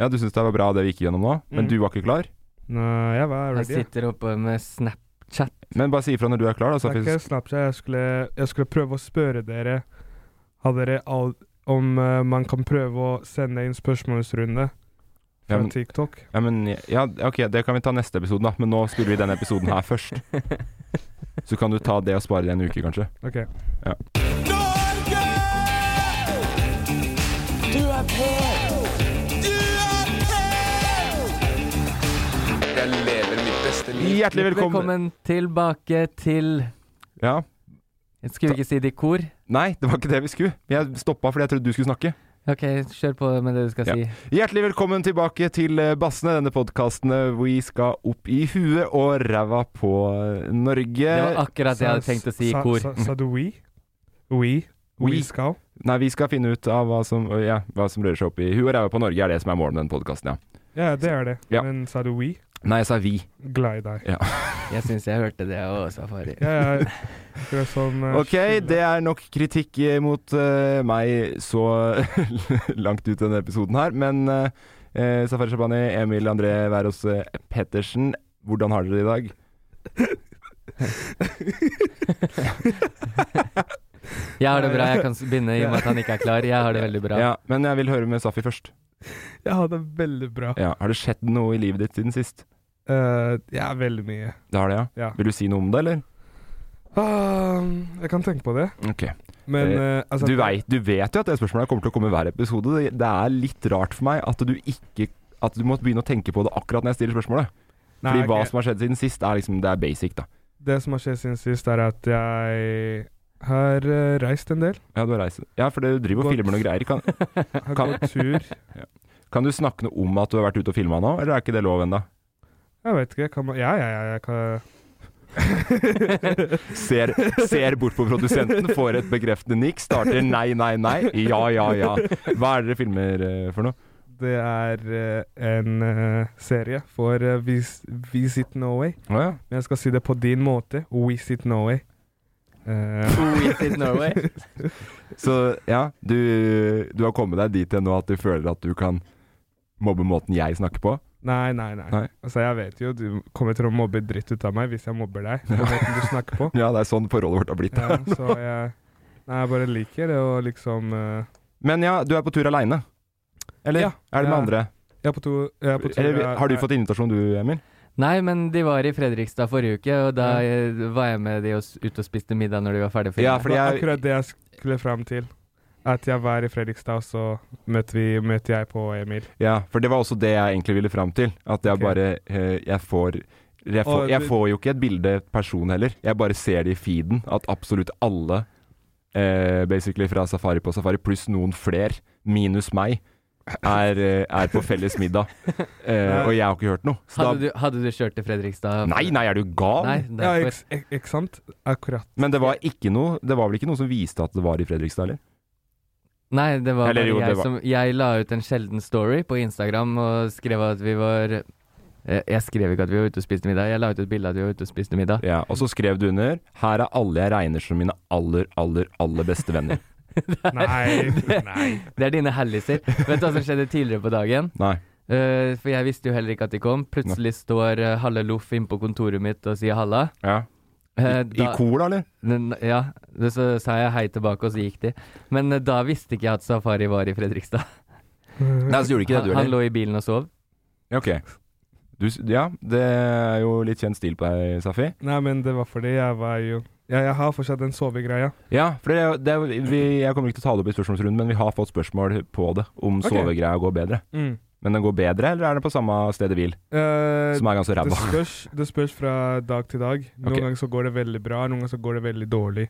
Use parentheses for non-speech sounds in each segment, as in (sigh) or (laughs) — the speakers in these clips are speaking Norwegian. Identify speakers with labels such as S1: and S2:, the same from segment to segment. S1: Ja, du syns det var bra det vi gikk gjennom nå, men
S2: Mm.
S1: du var ikke klar?
S2: Nei, jeg var
S3: Jeg
S2: ready. jeg.
S3: sitter oppe med Snapchat.
S1: Men bare si ifra når du er klar, da. Så
S2: Det er
S1: vi-
S2: ikke Snapchat. Jeg skulle, jeg skulle prøve å spørre dere Har dere all, om eh, man kan prøve å sende inn spørsmålsrunde fra
S1: Ja, men-
S2: TikTok.
S1: ja, men, ja, ok, det kan vi ta neste episode, da. Men nå spiller vi denne episoden
S2: (laughs)
S1: her først. Så kan du ta det og spare det en uke, kanskje.
S2: Ok.
S1: Hjertelig velkommen.
S3: tilbake til
S1: Ja.
S3: Jeg Skulle ikke si det i kor?
S1: Nei, det var ikke det vi skulle. Jeg stoppa fordi jeg trodde du skulle snakke.
S3: Ok, kjør på med det du skal
S1: Ja.
S3: si.
S1: Hjertelig velkommen tilbake til eh, Bassene, denne podkasten vi skal opp i huet og ræva på eh, Norge.
S3: Det var akkurat det jeg hadde tenkt å si i
S2: Sa-
S3: kor.
S2: sa- Sa du we? We?
S1: We.
S2: We skal?
S1: Nei, vi skal finne ut av hva som, ja, hva som rører seg opp i huet og ræva på Norge, er det som er målet med denne podkasten, ja.
S2: Ja, det er det.
S1: Ja.
S2: Men sa du we?
S1: Nei, jeg sa vi.
S2: Glad i deg.
S3: Jeg syns jeg hørte det òg, Safari.
S2: Ja, ja. Akkurat som eh,
S1: Ok, det er nok kritikk eh, mot eh, meg så (laughs) langt ut denne episoden her, men eh, eh, Safari Shabani, Emil André Wærås eh, Pettersen, hvordan har dere det i dag?
S3: Jeg har det bra, jeg kan s- begynne i og med at han ikke er klar. Jeg har det veldig bra.
S1: Ja, men jeg vil høre med Safi først.
S2: Jeg har det veldig bra.
S1: Ja, har det skjedd noe i livet ditt siden sist?
S2: Eh, ja, veldig mye.
S1: Det har det, ja.
S2: Ja.
S1: Vil du si noe om det, eller?
S2: Ah, jeg kan tenke på det.
S1: Ok.
S2: Men
S1: Eh,
S2: eh, altså,
S1: Du vet, du vet jo at det spørsmålet kommer til å komme hver episode. Det, det er litt rart for meg at du ikke At du må begynne å tenke på det akkurat når jeg stiller spørsmålet.
S2: Nei,
S1: Fordi hva
S2: ok.
S1: som har skjedd siden sist, er liksom Det er basic, da.
S2: Det som har skjedd siden sist, er at jeg har eh, reist en del.
S1: Ja, du har reist. Ja, for du driver og
S2: Godt.
S1: filmer noen greier. Kan,
S2: Har
S1: Kan-
S2: gått tur.
S1: kan du snakke noe om at du har vært ute og filma nå, eller er ikke det lov (laughs) ennå?
S2: Jeg vet ikke. Kan man Ja, ja, ja. Jeg kan,
S1: Ser, ser bort på produsenten, får et bekreftende nikk, starter nei, nei, nei. Ja, ja, ja. Hva er det dere filmer eh, for noe?
S2: det er eh, en eh, serie for eh, Vis Visit Norway.
S1: Å ja.
S2: Men jeg skal si det på din måte. Visit Norway. Eh,
S3: Visit Norway.
S1: (laughs) Så ja, du, du har kommet deg dit hen nå at du føler at du kan mobbe måten jeg snakker på?
S2: nei, nei, nei,
S1: Nei.
S2: Altså, jeg vet jo du kommer til å mobbe dritt ut av meg hvis jeg mobber deg. på måten du snakker på.
S1: (laughs) Ja, det er sånn forholdet vårt har blitt.
S2: Ja, så jeg Nei, jeg bare liker det å liksom eh,
S1: Men ja, du er på tur aleine. Eller
S2: Ja.
S1: er det med
S2: Ja.
S1: andre?
S2: Jeg er på to Jeg er på to
S1: Eller,
S2: jeg-
S1: har du
S2: jeg-
S1: fått invitasjon du, Emil?
S3: (laughs) Nei, men de var i Fredrikstad forrige uke, og da eh, var jeg med de og s- ut og spiste middag når de var ferdig å filme.
S1: Ja, fordi
S2: Det var
S1: jeg-
S2: akkurat det jeg skulle fram til. At jeg var i Fredrikstad, og så møtte, vi, møtte jeg på Emil.
S1: Ja, for det var også det jeg egentlig ville fram til. At jeg
S2: Ok.
S1: bare eh, Jeg får jeg får,
S2: Og
S1: jeg
S2: du-
S1: får jo ikke et bilde person heller. Jeg bare ser det i feeden at absolutt alle, eh, basically fra Safari på Safari, pluss noen fler, minus meg, er, eh, er på felles middag. Eh, og jeg har ikke hørt noe. Så
S3: Hadde
S1: da
S3: du, hadde du kjørt til Fredrikstad?
S1: Nei, nei, er du gal?
S3: Nei,
S2: Ja,
S3: derfor.
S2: ikke ikke sant?
S1: (laughs)
S2: Akkurat.
S1: Men det var ikke noe Det var vel ikke noe som viste at det var i Fredrikstad, eller?
S3: Nei, det var
S1: Eller
S3: bare
S1: jo, det
S3: jeg
S1: var-
S3: som Jeg la ut en sjelden story på Instagram og skrev at vi var eh, Jeg skrev ikke at vi var ute og spiste middag, jeg la ut et bilde at vi var ute og spiste middag. (laughs)
S1: Ja, og så skrev du under 'Her er alle jeg regner som mine aller, aller, aller beste venner'.
S2: Nei, nei.
S3: (laughs) Det er dine halliser. Vet du hva som skjedde tidligere på dagen?
S1: Nei.
S3: Eh, for jeg visste jo heller ikke at de kom. Plutselig står eh, Halle Loff inne på kontoret mitt og sier halla.
S1: Ja.
S3: Eh,
S1: I
S3: da-
S1: kor, da, eller?
S3: N- Ja, det- så sa jeg hei tilbake, og så gikk de. Men eh, da visste ikke jeg at Safari var i Fredrikstad.
S1: Nei, så gjorde ikke det,
S3: Han,
S1: du
S3: han
S1: heller.
S3: lå i bilen og sov.
S1: Ja, ok. Du, s- ja, det er jo litt kjent stil på deg, Safi.
S2: Nei, men det var fordi jeg var jo ja, Jeg har fortsatt den sovegreia.
S1: Ja, for det, er jo- det, er- vi, jeg kommer ikke til å ta det opp i spørsmålsrunden, men vi har fått spørsmål på det, om
S2: Ok.
S1: sovegreia går bedre.
S2: Mm.
S1: Men den går bedre, eller er den på samme stedet hvil,
S2: Eh,
S1: som er ganske
S2: det,
S1: ræva?
S2: spørs, det spørs fra dag til dag. Noen
S1: Ok.
S2: ganger så går det veldig bra, noen ganger så går det veldig dårlig.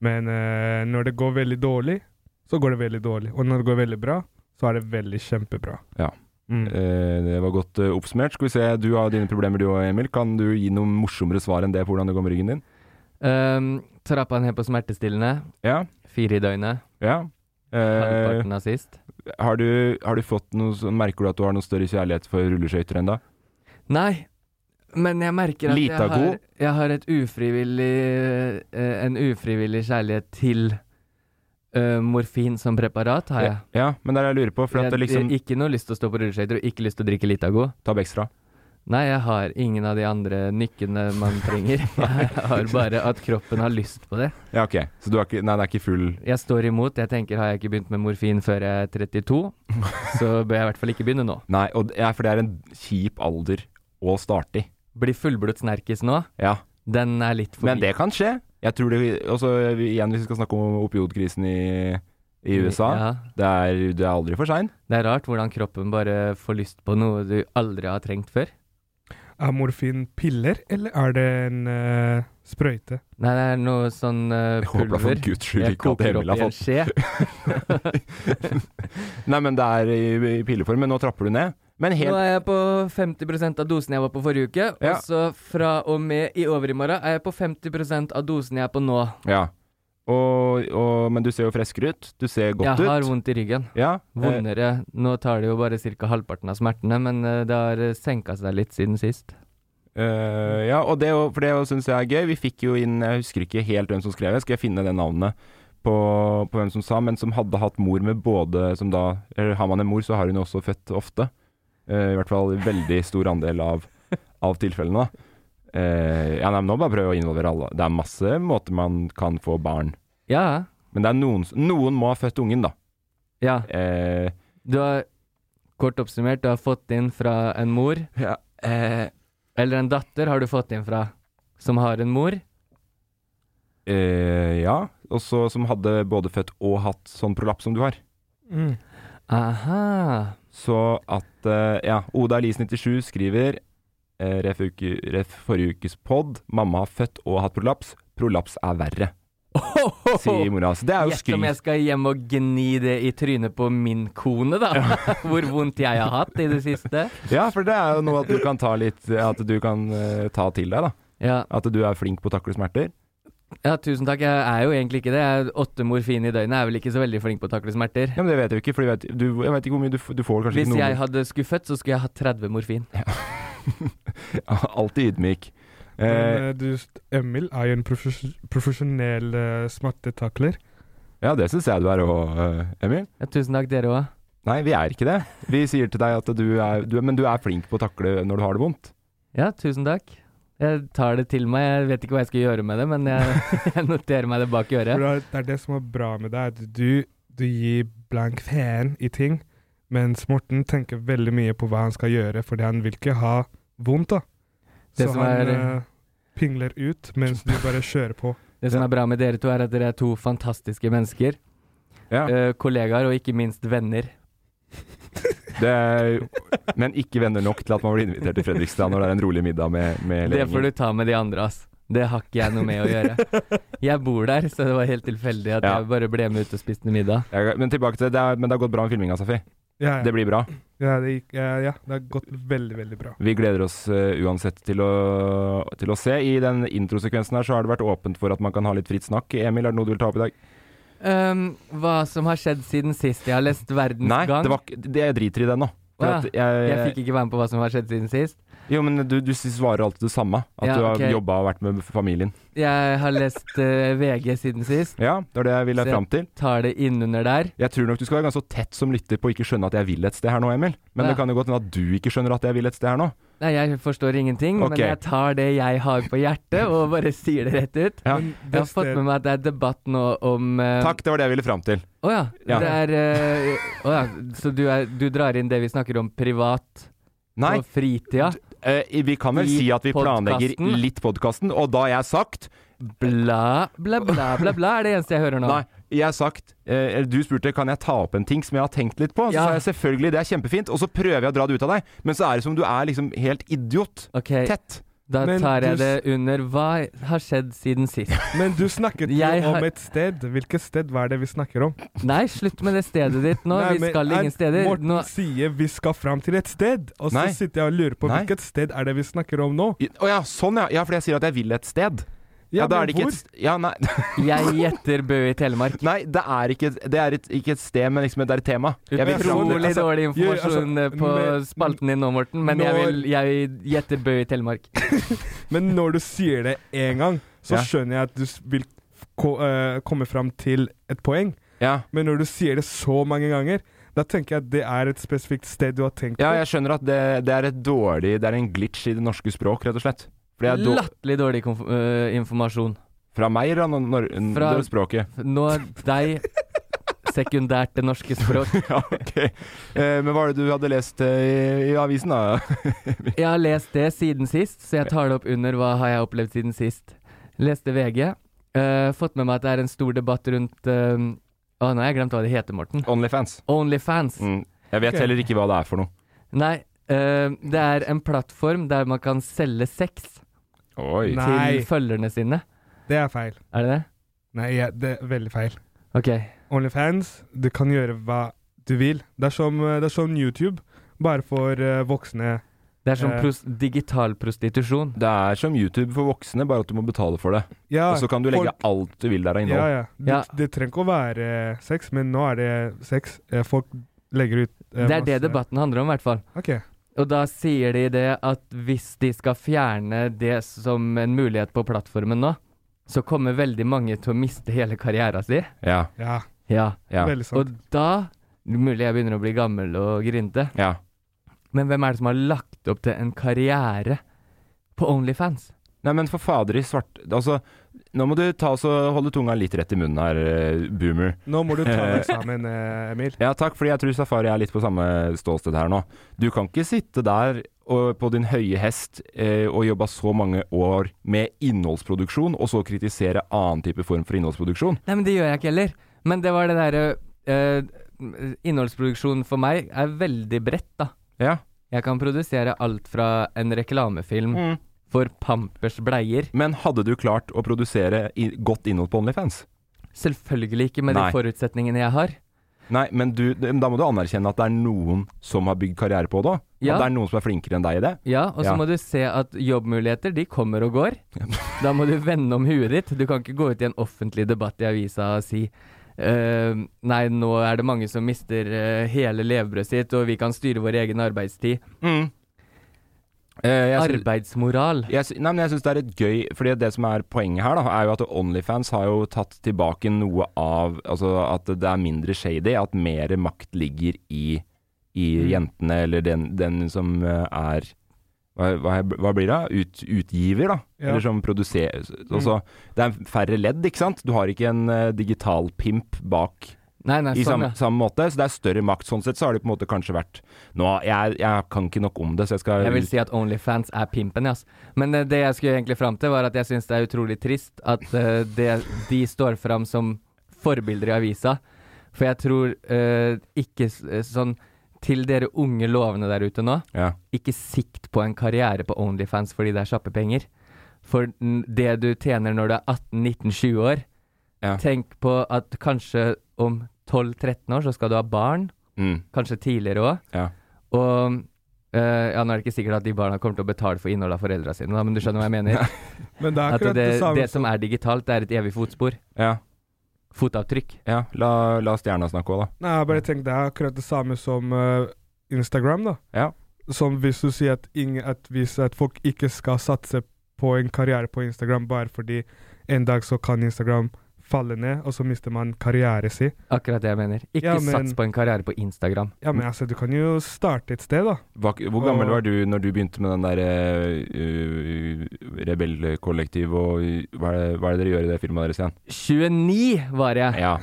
S2: Men eh, når det går veldig dårlig, så går det veldig dårlig. Og når det går veldig bra, så er det veldig kjempebra.
S1: Ja. (laughs)
S2: Mm.
S1: Eh, Det var godt eh, oppsummert. Skal vi se, du har dine problemer du og Emil. Kan du gi noen morsommere svar enn det på hvordan det går med ryggen din?
S3: Um, trappa ned på smertestillende.
S1: Ja,
S3: Fire i døgnet.
S1: ja. Eh,
S3: Halvparten av sist.
S1: har, du, har du fått noe sånn- Merker du at du har noen større kjærlighet for rulleskøyter ennå?
S3: Nei, men jeg merker at jeg
S1: Lita
S3: har,
S1: god.
S3: jeg har et ufrivillig eh, En ufrivillig kjærlighet til eh, morfin som preparat, har jeg.
S1: Ja, men det er det jeg lurer på, for at
S3: Jeg,
S1: det liksom
S3: jeg ikke noe lyst til å stå på rulleskøyter, og ikke lyst til å drikke Litago.
S1: Tab ekstra.
S3: Nei, jeg har ingen av de andre nykkene man
S1: (laughs)
S3: trenger. Jeg har bare at kroppen har lyst på det.
S1: Ja, ok. Så du har ikke Nei, det er ikke full
S3: Jeg står imot. Jeg tenker har jeg ikke begynt med morfin før jeg er 32,
S1: (laughs)
S3: så bør jeg i hvert fall ikke begynne nå.
S1: Nei, og, det- ja, for det er en kjip alder å starte i.
S3: Bli fullblods nerkis nå,
S1: Ja.
S3: den er litt forbi.
S1: Men det kan skje. Jeg tror det Også igjen, hvis vi skal snakke om opiodkrisen i, i USA.
S3: Ja.
S1: Det, er, det er aldri for seint.
S3: Det er rart hvordan kroppen bare får lyst på noe du aldri har trengt før.
S2: Er morfin piller, eller er det en eh, sprøyte?
S3: Nei, det er noe sånn eh,
S1: Jeg håper da for
S3: pulver.
S1: guds skyld
S3: Jeg
S1: ikke at
S3: koker
S1: Emil
S3: opp
S1: har
S3: i en skje.
S1: fått (laughs) Nei, men det er i, i pilleform. Men nå trapper du ned. Men
S3: Nå
S1: helt
S3: er jeg på 50 av dosen jeg var på forrige uke.
S1: Ja.
S3: Og så fra og med i overmorgen er jeg på 50 av dosen jeg er på nå.
S1: Ja. Og, og, men du ser jo friskere ut. Du ser godt
S3: jeg har
S1: ut.
S3: vondt i ryggen.
S1: Ja. Eh,
S3: Vondere. Nå tar det jo bare ca. halvparten av smertene, men eh, det har senka seg litt siden sist.
S1: Eh, ja, og det, jo- for det syns jeg er gøy. Vi fikk jo inn Jeg husker ikke helt hvem som skrev det. Skal jeg finne det navnet på, på hvem som sa, men som hadde hatt mor med både som da, eller Har man en mor, så har hun jo også født ofte. Eh, I hvert fall veldig stor andel av, av tilfellene. da. Eh, ja, nei, men nå bare prøv å involvere alle. Det er masse måter man kan få barn.
S3: Ja,
S1: Men det er noen, s- noen må ha født ungen, da.
S3: ja.
S1: Eh,
S3: Du har kort oppsummert, du har fått inn fra en mor.
S1: ja, Eh.
S3: Eller en datter har du fått inn fra, som har en mor.
S1: eh, ja. Og så som hadde både født og hatt sånn prolaps som du har.
S3: Mm. (laughs) Aha.
S1: Så at eh, Ja, Oda Elise97 skriver eh, ref, uke, ref forrige ukes pod. Mamma har født og hatt prolaps. Prolaps er verre, sier mora. Så det er jo
S3: Gjett om jeg
S1: skryt.
S3: skal hjem og gni det i trynet på min kone, da. (laughs) Hvor vondt jeg har hatt i det siste.
S1: Ja, for det er jo noe at du kan ta litt eh, At du kan eh, ta til deg, da.
S3: Ja.
S1: At du er flink på å takle smerter.
S3: ja, tusen takk. Jeg er jo egentlig ikke det. Jeg er åtte morfin i døgnet. Jeg er vel ikke så veldig flink på å takle smerter.
S1: Ja, Men det vet jeg jo ikke, for jeg vet, du, jeg vet ikke hvor mye du, f- du får kanskje
S3: Hvis
S1: ikke
S3: jeg
S1: (laughs) noe
S3: hadde skulle født, så skulle jeg hatt 30 morfin.
S1: Alltid ydmyk.
S2: Men,
S1: Eh,
S2: eh, du, Emil er jo en profes profesjonell eh, smertetakler.
S1: ja, det syns jeg du er òg, Emil.
S3: Ja, tusen takk, dere òg.
S1: Nei, vi er ikke det. Vi sier til deg at du er du, Men du er flink på å takle når du har det vondt.
S3: Ja, tusen takk. Jeg tar det til meg. Jeg vet ikke hva jeg skal gjøre med det, men jeg, (laughs) jeg noterer meg det bak i øret.
S2: For det er- det er det som er bra med deg, at du, du gir blank fan i ting, mens Morten tenker veldig mye på hva han skal gjøre, fordi han vil ikke ha vondt, da.
S3: Det
S2: Så
S3: som
S2: han
S3: er-
S2: eh, pingler ut, mens du bare kjører på.
S3: Det som
S1: Ja.
S3: er bra med dere to, er at dere er to fantastiske mennesker.
S1: Ja.
S3: Eh, kollegaer, og ikke minst venner.
S1: Det er, men ikke venner nok til at man blir invitert til Fredrikstad når det er en rolig middag med, med
S3: Det
S1: lærlingen.
S3: får du ta med de andre, ass. Det har ikke jeg noe med å gjøre.
S1: (laughs)
S3: Jeg bor der, så det var helt tilfeldig at
S1: Ja.
S3: jeg bare ble med ut og spiste middag.
S1: Jeg, men tilbake til det, det er, men det har gått bra med filminga, Safi.
S2: Ja, ja.
S1: Det blir bra.
S2: ja, det gikk, ja, ja, det har gått veldig, veldig bra.
S1: Vi gleder oss eh, uansett til å, til å se. I den introsekvensen her så har det vært åpent for at man kan ha litt fritt snakk. Emil, er det noe du vil ta opp i dag?
S3: Ehm, hva som har skjedd siden sist jeg har lest Verdens
S1: Nei,
S3: gang?
S1: det var, eh, ikke- det, jeg driter i det nå. For
S3: Å ja,
S1: at
S3: Jeg
S1: jeg,
S3: fikk ikke være med på hva som har skjedd siden sist.
S1: jo, men du, du svarer alltid det samme. At
S3: Ja,
S1: du har
S3: ok.
S1: jobba og vært med familien.
S3: Jeg har lest eh, VG siden sist.
S1: Ja, det var det jeg ville
S3: Se.
S1: fram til.
S3: Tar det innunder der.
S1: Jeg tror nok du skal være ganske tett som lytter på å ikke skjønne at jeg vil et sted her nå, Emil. Men
S3: Ja.
S1: det kan jo godt hende at du ikke skjønner at jeg vil et sted her nå.
S3: Nei, jeg forstår ingenting,
S1: Ok.
S3: men jeg tar det jeg har på hjertet, og bare sier det rett ut.
S1: Ja.
S2: Men
S3: Jeg har
S2: det
S3: fått
S2: sted-
S3: med meg at det er debatt nå om eh,
S1: Takk, det var det jeg ville fram til.
S3: Å ja.
S1: Ja.
S3: Det er eh, Å ja. Så du, er, du drar inn det vi snakker om privat
S1: Nei,
S3: og fritida?
S1: eh, vi kan vel
S3: I
S1: si at vi planlegger
S3: podcasten.
S1: litt podkasten, og da har jeg sagt
S3: Bla, bla, bla, bla, bla, er det eneste jeg hører nå.
S1: Nei, jeg har sagt eh, eller Du spurte kan jeg ta opp en ting som jeg har tenkt litt på. Så
S3: Ja.
S1: sa jeg selvfølgelig, det er kjempefint. Og så prøver jeg å dra det ut av deg, men så er det som du er liksom helt idiot.
S3: Ok,
S1: Tett.
S3: da
S2: Men
S3: tar jeg
S2: du
S3: det
S2: s-
S3: under Hva har skjedd siden sist?
S2: Men du snakket jo
S3: Jeg har-
S2: om et sted. Hvilket sted var det vi snakker om?
S3: Nei, slutt med det stedet ditt nå.
S2: Nei,
S3: vi
S2: men
S3: skal
S2: er-
S3: ingen steder.
S2: Morten
S3: Nå,
S2: sier vi skal fram til et sted, og så
S1: Nei.
S2: sitter jeg og lurer på
S1: Nei.
S2: hvilket sted er det vi snakker om nå.
S1: I- Å ja, sånn ja. Ja, fordi jeg sier at jeg vil et sted. Ja, da
S2: men
S1: er det ikke
S2: hvor?
S1: et st- Ja, nei, (laughs)
S3: jeg gjetter Bø i Telemark.
S1: nei, det er ikke et, det er et, ikke et sted, men liksom det er et tema. Jeg vil fram til-
S3: Utrolig
S2: altså,
S3: dårlig
S2: jo,
S3: informasjon
S2: altså,
S3: eh, på
S2: men-
S3: spalten din nå, Morten, men jeg, vil, jeg gjetter Bø i Telemark.
S2: Men når du sier det én gang, så
S1: Ja.
S2: skjønner jeg at du s- vil ko eh, komme fram til et poeng.
S1: ja.
S2: Men når du sier det så mange ganger, da tenker jeg at det er et spesifikt sted du har tenkt
S1: ja,
S2: på.
S1: jeg skjønner at det, det er et dårlig Det er en glitch i det norske språk, rett og slett. For det er då-
S3: Latterlig dårlig konf eh, informasjon.
S1: Fra meg, da, når, når,
S3: Fra-
S1: det språket.
S3: Nå deg sekundært det norske språk.
S1: (laughs) Ja, ok. Eh, men hva er det du hadde lest eh, i, i avisen, da?
S3: Jeg har lest det siden sist, så jeg tar det opp under hva har jeg opplevd siden sist. Leste VG. eh, fått med meg at det er en stor debatt rundt eh, Å, nå har jeg glemt hva det heter, Morten.
S1: (laughs) Onlyfans.
S3: Onlyfans.
S1: Mm. Jeg vet
S2: Ok.
S1: heller ikke hva det er for noe.
S3: Nei, eh, det er en plattform der man kan selge sex
S1: Oi.
S2: Nei.
S3: til følgerne sine.
S2: Det er feil.
S3: Er det det?
S2: Nei, jeg- det er veldig feil.
S3: Ok.
S2: Onlyfans, du kan gjøre hva du vil. Det er som, eh, det er som YouTube, bare for eh, voksne.
S3: Det er som
S2: Eh.
S3: pros digital prostitusjon.
S1: Det er som YouTube for voksne, bare at du må betale for det.
S2: Ja,
S1: Og så kan du legge
S2: folk-
S1: alt du vil der av
S2: Ja,
S1: innhold.
S2: ja. Det,
S3: Ja.
S2: det trenger ikke å være eh, sex, men nå er det sex. Eh, Folk legger ut eh,
S3: Det er det
S2: masse-
S3: debatten handler om, i hvert fall.
S2: Ok.
S3: Og da sier de det at hvis de skal fjerne det som en mulighet på plattformen nå, så kommer veldig mange til å miste hele karrieren sin.
S1: Ja,
S2: Ja,
S3: Ja.
S1: ja,
S2: veldig sant.
S3: Og da Mulig jeg begynner å bli gammel og grinte,
S1: ja.
S3: men hvem er det som har lagt opp til en karriere på Onlyfans?
S1: Nei, men for fader i svart... Altså, nå må du ta og så holde tunga litt rett i munnen her, eh, boomer.
S2: Nå må du ta (laughs) eksamen, eh, Emil.
S1: Ja, takk, fordi jeg tror Safari er litt på samme ståsted her nå. Du kan ikke sitte der og, på din høye hest eh, og jobbe så mange år med innholdsproduksjon, og så kritisere annen type form for innholdsproduksjon.
S3: Nei, men det gjør jeg ikke heller. Men det var det derre eh, Innholdsproduksjon for meg er veldig bredt, da.
S1: Ja.
S3: Jeg kan produsere alt fra en reklamefilm for Pampers bleier
S1: Men hadde du klart å produsere i, godt innhold på Onlyfans?
S3: Selvfølgelig ikke med
S1: Nei.
S3: de forutsetningene jeg har.
S1: Nei, men du, da må du anerkjenne at det er noen som har bygd karriere på det òg.
S3: Ja.
S1: At det er noen som er flinkere enn deg i det.
S3: Ja, Og så
S1: Ja.
S3: må du se at jobbmuligheter, de kommer og
S1: (laughs)
S3: går. Da må du vende om huet ditt. Du kan ikke gå ut i en offentlig debatt i avisa og si eh, nei, nå er det mange som mister eh, hele levebrødet sitt, og vi kan styre vår egen arbeidstid.
S1: Mm. Eh, jeg syns-
S3: Arbeidsmoral.
S1: Jeg, sy- nei, men jeg syns det er et gøy Fordi det som er poenget her, da, er jo at Onlyfans har jo tatt tilbake noe av Altså at det er mindre shady, at mer makt ligger i, i
S3: Mm.
S1: jentene, eller den, den som eh, er hva, hva, hva blir det? Ut, utgiver, da?
S2: Ja.
S1: Eller som produserer
S3: Mm.
S1: Altså, det er færre ledd, ikke sant? Du har ikke en eh, digital pimp bak
S3: Nei, nei,
S1: i
S3: sånn,
S1: samme,
S3: ja.
S1: samme måte, så det er større makt. Sånn sett så har de på en måte kanskje vært Nå, jeg, jeg kan ikke nok om det, så jeg skal
S3: Jeg vil si at Onlyfans er pimpen, ja, ass. Men eh, det jeg skulle egentlig fram til, var at jeg syns det er utrolig trist at eh, det, de står fram som forbilder i avisa. For jeg tror eh, ikke s- eh, sånn Til dere unge lovende der ute nå,
S1: ja.
S3: ikke sikt på en karriere på Onlyfans fordi det er kjappe penger. For n- det du tjener når du er 18-19-20 år
S1: Ja.
S3: Tenk på at kanskje om 12-13 år så skal du ha barn.
S1: Mm.
S3: kanskje tidligere òg.
S1: Ja.
S3: Og eh, ja, nå er det ikke sikkert at de barna kommer til å betale for innholdet av foreldra sine, da, men du skjønner hva jeg
S1: (laughs)
S3: mener?
S2: Men det er
S3: At
S2: akkurat
S3: det,
S2: det, samme
S3: det som er digitalt, det er et evig fotspor.
S1: Ja.
S3: Fotavtrykk.
S1: ja. La, la stjerna snakke òg, da.
S2: Nei, jeg bare tenker det er akkurat det samme som eh, Instagram, da.
S1: Ja.
S2: Som hvis du sier at, ingen, at, hvis at folk ikke skal satse på en karriere på Instagram bare fordi en dag så kan Instagram falle ned, og så mister man karrieren sin.
S3: Akkurat det jeg mener. Ikke
S2: Ja, men-
S3: sats på en karriere på Instagram.
S2: Ja, men altså, du kan jo starte et sted, da.
S1: Hva, hvor gammel var du når du begynte med den der eh, eh, rebellkollektiv og hva er, det, hva er det dere gjør i det firmaet deres igjen?
S3: 29 var jeg!
S1: Ja.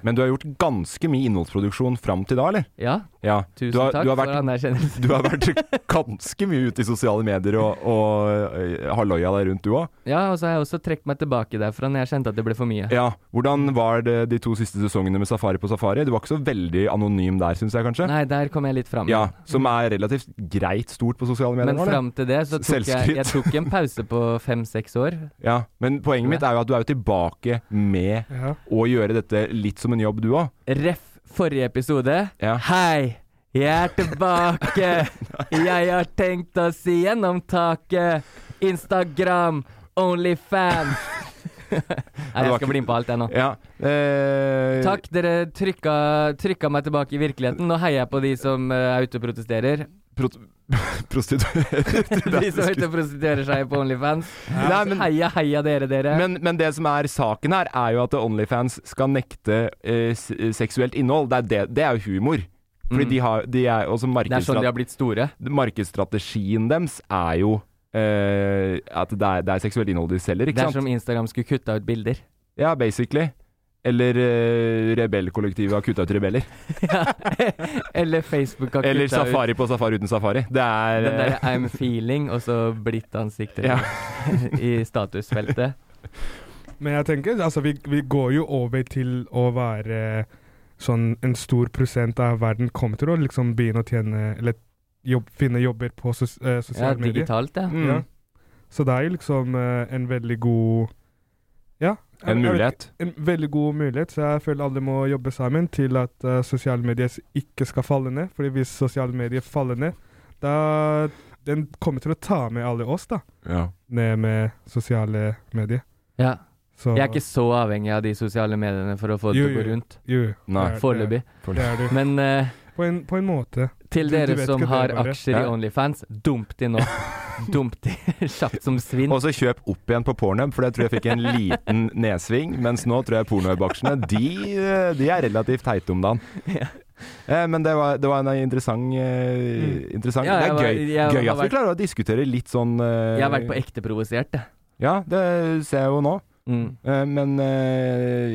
S1: Men du har gjort ganske mye innholdsproduksjon fram til da, eller?
S3: Ja,
S1: Ja.
S3: tusen
S1: Du har-
S3: takk
S1: du har vært-
S3: for anerkjennelsen.
S1: (laughs)
S3: (laughs)
S1: Du har vært ganske mye ute i sosiale medier og, og eh, har loia deg rundt, du òg.
S3: Ja, og så har jeg også trukket meg tilbake derfra når jeg kjente at det ble for mye.
S1: Ja. Hvordan var det de to siste sesongene med Safari på Safari? Du var ikke så veldig anonym der, syns jeg kanskje?
S3: Nei, der kom jeg litt fram.
S1: Ja, Som er relativt greit stort på sosiale medier?
S3: Men
S1: nå, eller?
S3: fram til det så tok jeg,
S1: Selvskryt.
S3: jeg tok en pause på fem-seks år.
S1: Ja, Men poenget mitt er jo at du er jo tilbake med
S2: Ja.
S1: å gjøre dette litt som en jobb, du òg.
S3: Ref forrige episode.
S1: Ja.
S3: Hei, jeg er
S1: (laughs)
S3: tilbake! Jeg har tenkt å si gjennom taket. Instagram, Onlyfans.
S1: (laughs)
S3: Nei, jeg skal bli med på alt, jeg nå.
S1: Ja. Eh,
S3: Takk, dere trykka, trykka meg tilbake i virkeligheten. Nå heier jeg på de som eh, er ute og
S1: (laughs)
S3: protesterer.
S1: Prot
S3: (laughs) De som er ute
S1: (laughs) Prostituerte.
S3: og prostituerer seg på Onlyfans.
S1: Nei, men-
S3: heia, heia dere, dere.
S1: Men, men det som er saken her, er jo at Onlyfans skal nekte eh, s- seksuelt innhold. Det er, det, det er jo humor. Fordi de har de er, også
S3: Mm. det er sånn de
S1: markedsstrat
S3: har blitt store.
S1: Markedsstrategien deres er jo eh, at det er, det er seksuelt innhold de selger,
S3: Det
S1: ikke
S3: er som
S1: sant?
S3: Instagram skulle kutta ut
S1: (laughs)
S3: bilder. (laughs)
S1: Ja, basically. Eller eh, rebellkollektivet har kutta ut rebeller.
S3: Eller Facebook har
S1: Eller
S3: kutta ut
S1: Safari på safari uten safari. Det er
S3: den der
S1: eh,
S3: I'm feeling, og så blitt ansiktet
S1: Ja.
S3: (laughs) i
S1: (laughs)
S3: statusfeltet.
S2: Men jeg tenker, altså, vi, vi går jo over til å være sånn en stor prosent av verden kommer til å liksom begynne å tjene, eller jobb, finne jobber på sos, eh,
S3: Ja,
S2: sosiale medier.
S3: digitalt, ja.
S1: mm,
S2: Ja. Så det er jo liksom eh, en veldig god Ja. jeg-
S1: En
S2: jeg vet
S1: mulighet.
S2: ikke, En veldig god mulighet, så jeg føler alle må jobbe sammen til at eh, sosiale medier ikke skal falle ned. Fordi hvis sosiale medier faller ned, da Den kommer til å ta med alle oss, da.
S1: Ja.
S2: Ned med sosiale medier.
S3: ja.
S2: Så
S3: Jeg er ikke så avhengig av de sosiale mediene for å få det
S2: Jo,
S3: til å gå
S2: jo.
S3: rundt.
S2: Jo,
S1: Nei.
S2: det er-
S3: Foreløpig.
S2: Det er det.
S3: Men eh,
S2: På en, på en måte.
S3: til
S2: Du- du
S3: dere
S2: vet
S3: som
S2: ikke
S3: har
S2: det, bare.
S3: aksjer i
S1: Ja.
S3: Onlyfans, dump de
S1: (laughs)
S3: nå. dump de (laughs) kjapt som svinn.
S1: Og så kjøp opp igjen på Pornhub, for jeg tror jeg fikk en liten
S3: (laughs)
S1: nedsving. Mens nå tror jeg pornohub-aksjene de, eh, de er relativt teite om dagen. Eh, Men det var, det var en interessant, eh, interessant.
S3: Mm. Ja, jeg
S1: Det er
S3: var-
S1: gøy,
S3: jeg
S1: gøy
S3: har
S1: at vi
S3: vært-
S1: klarer å diskutere litt sånn eh,
S3: Jeg har vært på ekte provosert, jeg.
S1: Ja, det ser jeg jo nå.
S3: Mm.
S1: Eh, Men eh,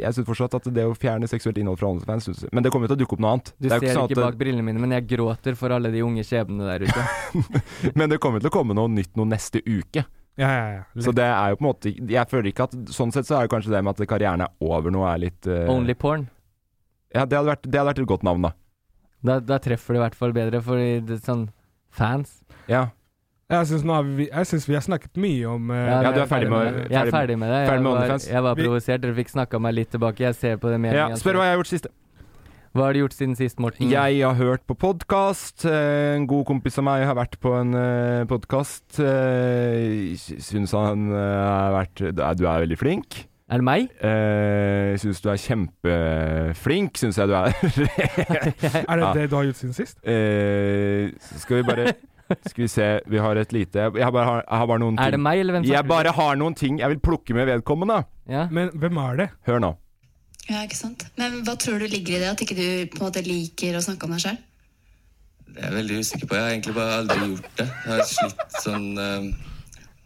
S1: jeg syns fortsatt at det å fjerne seksuelt innhold fra OnlyFans synes jeg- Men det kommer jo til å dukke opp noe annet.
S3: Du
S1: Det er jo
S3: ser
S1: sånn
S3: ikke
S1: at-
S3: bak brillene mine, men jeg gråter for alle de unge skjebnene der ute.
S1: (laughs) Men det kommer til å komme noe nytt noe neste uke.
S2: Ja, ja, ja.
S1: Så det er jo på en måte Jeg føler ikke at Sånn sett så er det kanskje det med at karrieren er over nå, er litt eh,
S3: Only porn.
S1: Ja, det hadde, vært, det hadde vært et godt navn, da.
S3: Da, da treffer det i hvert fall bedre, for det, er sånn fans
S1: Ja,
S2: Jeg syns, nå har vi, jeg synes vi har snakket mye om eh,
S3: Ja,
S1: ja
S3: jeg
S1: du er ferdig med,
S3: Jeg er ferdig med det.
S1: ferdig med
S3: jeg, var,
S1: OnlyFans.
S3: jeg var
S2: Vi-
S3: provosert, dere fikk snakka meg litt tilbake. Jeg Mm. ser på det med
S1: Ja,
S3: en gang.
S1: spør hva jeg har gjort siste.
S3: Hva har du gjort siden sist, Morten?
S1: Jeg har hørt på podkast. En god kompis av meg har vært på en podkast. Syns han eh, har vært Du er du er veldig flink.
S3: Er det meg?
S1: Uh, Syns du er kjempeflink, syns jeg du er. (laughs)
S2: Er det
S1: Ja.
S2: det du har gjort siden sist?
S1: Eh, skal vi bare Skal vi se, vi har et lite Jeg har bare, jeg har bare noen
S3: Er det
S1: ting
S3: meg, eller hvem som
S1: Jeg bare har noen ting jeg vil plukke med vedkommende.
S3: Ja.
S2: Men hvem er det?
S1: Hør nå.
S4: Ja, ikke sant? Men hva tror du ligger i det? At ikke du på en måte liker å snakke om deg sjøl?
S5: Det er jeg veldig usikker på. Jeg har egentlig bare aldri gjort det. Jeg har slitt sånn eh,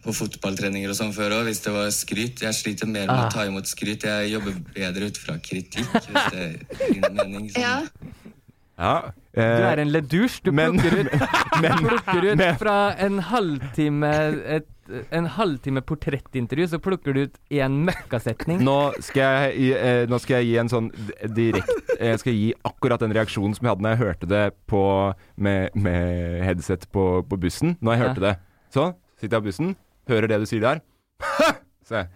S5: på fotballtreninger og sånn før òg, hvis det var skryt. Jeg sliter mer med å ta imot skryt. Jeg jobber bedre ut fra kritikk, hvis det gir din mening. Sånn.
S4: Ja.
S1: Ja.
S3: Du
S1: eh,
S3: er en ledusj. Du
S1: men-
S3: plukker
S1: (laughs)
S3: ut,
S1: men-
S3: plukker ut
S1: men-
S3: fra en halvtime et, En halvtime portrettintervju, så plukker du ut én møkkasetning.
S1: Nå skal jeg, gi- eh, nå skal jeg gi en sånn d- direkte Jeg skal gi akkurat den reaksjonen som jeg hadde når jeg hørte det på, med, med headset på, på bussen. Når jeg
S3: Ja.
S1: hørte det. Sånn. Sitter jeg på bussen, hører det du sier der. (laughs) Se.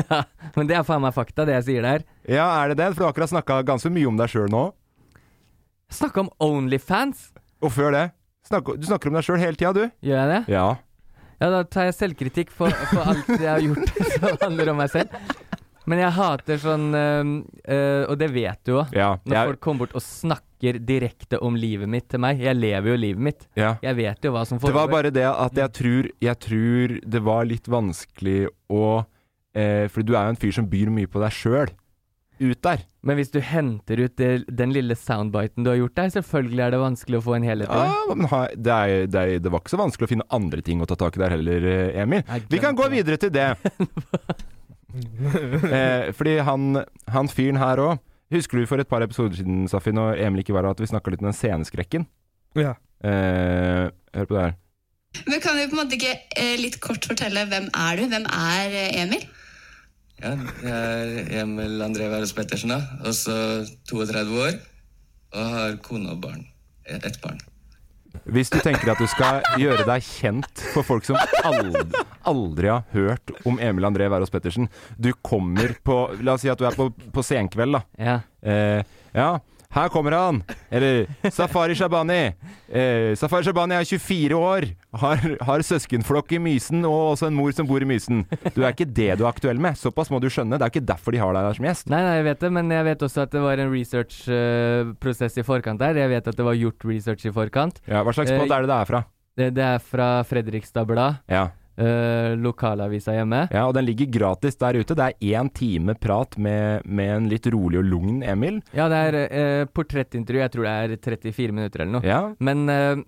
S3: (laughs) Men det er faen meg fakta, det jeg sier der.
S1: Ja, er det det? For du har akkurat snakka ganske mye om deg sjøl nå.
S3: Snakke om Onlyfans!
S1: Og før det snakk, Du snakker om deg sjøl hele tida, du.
S3: Gjør jeg det?
S1: Ja.
S3: Ja, da tar jeg selvkritikk for, for alt jeg har gjort (laughs) som handler om meg selv. Men jeg hater sånn eh, eh, Og det vet du òg.
S1: Ja.
S3: Når
S1: Jeg,
S3: folk kommer bort og snakker direkte om livet mitt til meg. Jeg lever jo livet mitt.
S1: ja.
S3: Jeg vet jo hva som
S1: Det var
S3: foregår.
S1: bare det at jeg tror, jeg tror det var litt vanskelig å eh, For du er jo en fyr som byr mye på deg sjøl. Ut der.
S3: Men hvis du henter ut det, den lille soundbiten du har gjort der, selvfølgelig er det vanskelig å få en helhet. i
S1: Ja,
S3: det.
S1: men ha- det, er, det, er, det var ikke så vanskelig å finne andre ting å ta tak i der heller, eh, Emil.
S3: Jeg
S1: Vi kan
S3: glemte
S1: gå
S3: det.
S1: videre til det. eh, fordi han, han fyren her òg Husker du for et par episoder siden, Safin, og Emil ikke var her, at vi snakka litt om den sceneskrekken?
S2: Ja.
S1: Eh, hør på det her.
S4: Men kan du på en måte ikke eh, litt kort fortelle hvem er du? Hvem er eh, Emil?
S5: Ja, jeg er Emil André Wærås Pettersen, da. Også 32 år. Og har kone og barn. Eh, Ett barn.
S1: Hvis du tenker at du skal gjøre deg kjent for folk som aldri, aldri har hørt om Emil André Wærås Pettersen Du kommer på La oss si at du er på, på senkveld, da.
S3: Ja.
S1: Eh, ja, her kommer han! Eller Safari Shabani. Eh, Safari Shabani er 24 år, har, har søskenflokk i Mysen og også en mor som bor i Mysen. Du er ikke det du er aktuell med. Såpass må du skjønne. Det er ikke derfor de har deg der som gjest.
S3: Nei, nei, jeg vet det, men jeg vet også at det var en researchprosess i forkant der. Jeg vet at det var gjort research i forkant.
S1: Ja, hva slags båt er det det er fra?
S3: Det, det er fra Fredrikstad Blad,
S1: Ja.
S3: eh, lokalavisa hjemme.
S1: ja, og den ligger gratis der ute. Det er én time prat med, med en litt rolig og lugn Emil.
S3: Ja, det er eh, portrettintervju. Jeg tror det er 34 minutter eller noe.
S1: Ja.
S3: Men eh,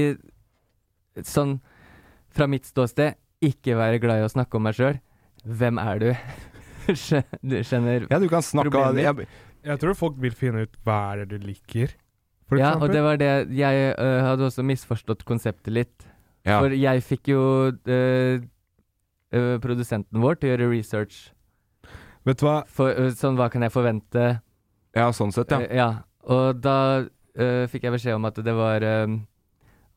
S3: i, sånn fra mitt ståsted, ikke være glad i å snakke om meg sjøl. Hvem er du? (laughs) Skjø- du skjønner
S1: ja, du kan snakke
S3: Problemer.
S1: jeg,
S2: Jeg tror folk vil finne ut hva er det du liker, for
S3: Ja, og
S2: eksempel.
S3: det var det Jeg eh, hadde også misforstått konseptet litt.
S1: ja.
S3: For jeg fikk jo eh, eh, produsenten vår til å gjøre research.
S2: Vet du hva?
S3: For, eh, sånn, hva kan jeg forvente?
S1: ja, sånn sett, ja.
S3: Eh, ja. Og da eh, fikk jeg beskjed om at det var eh,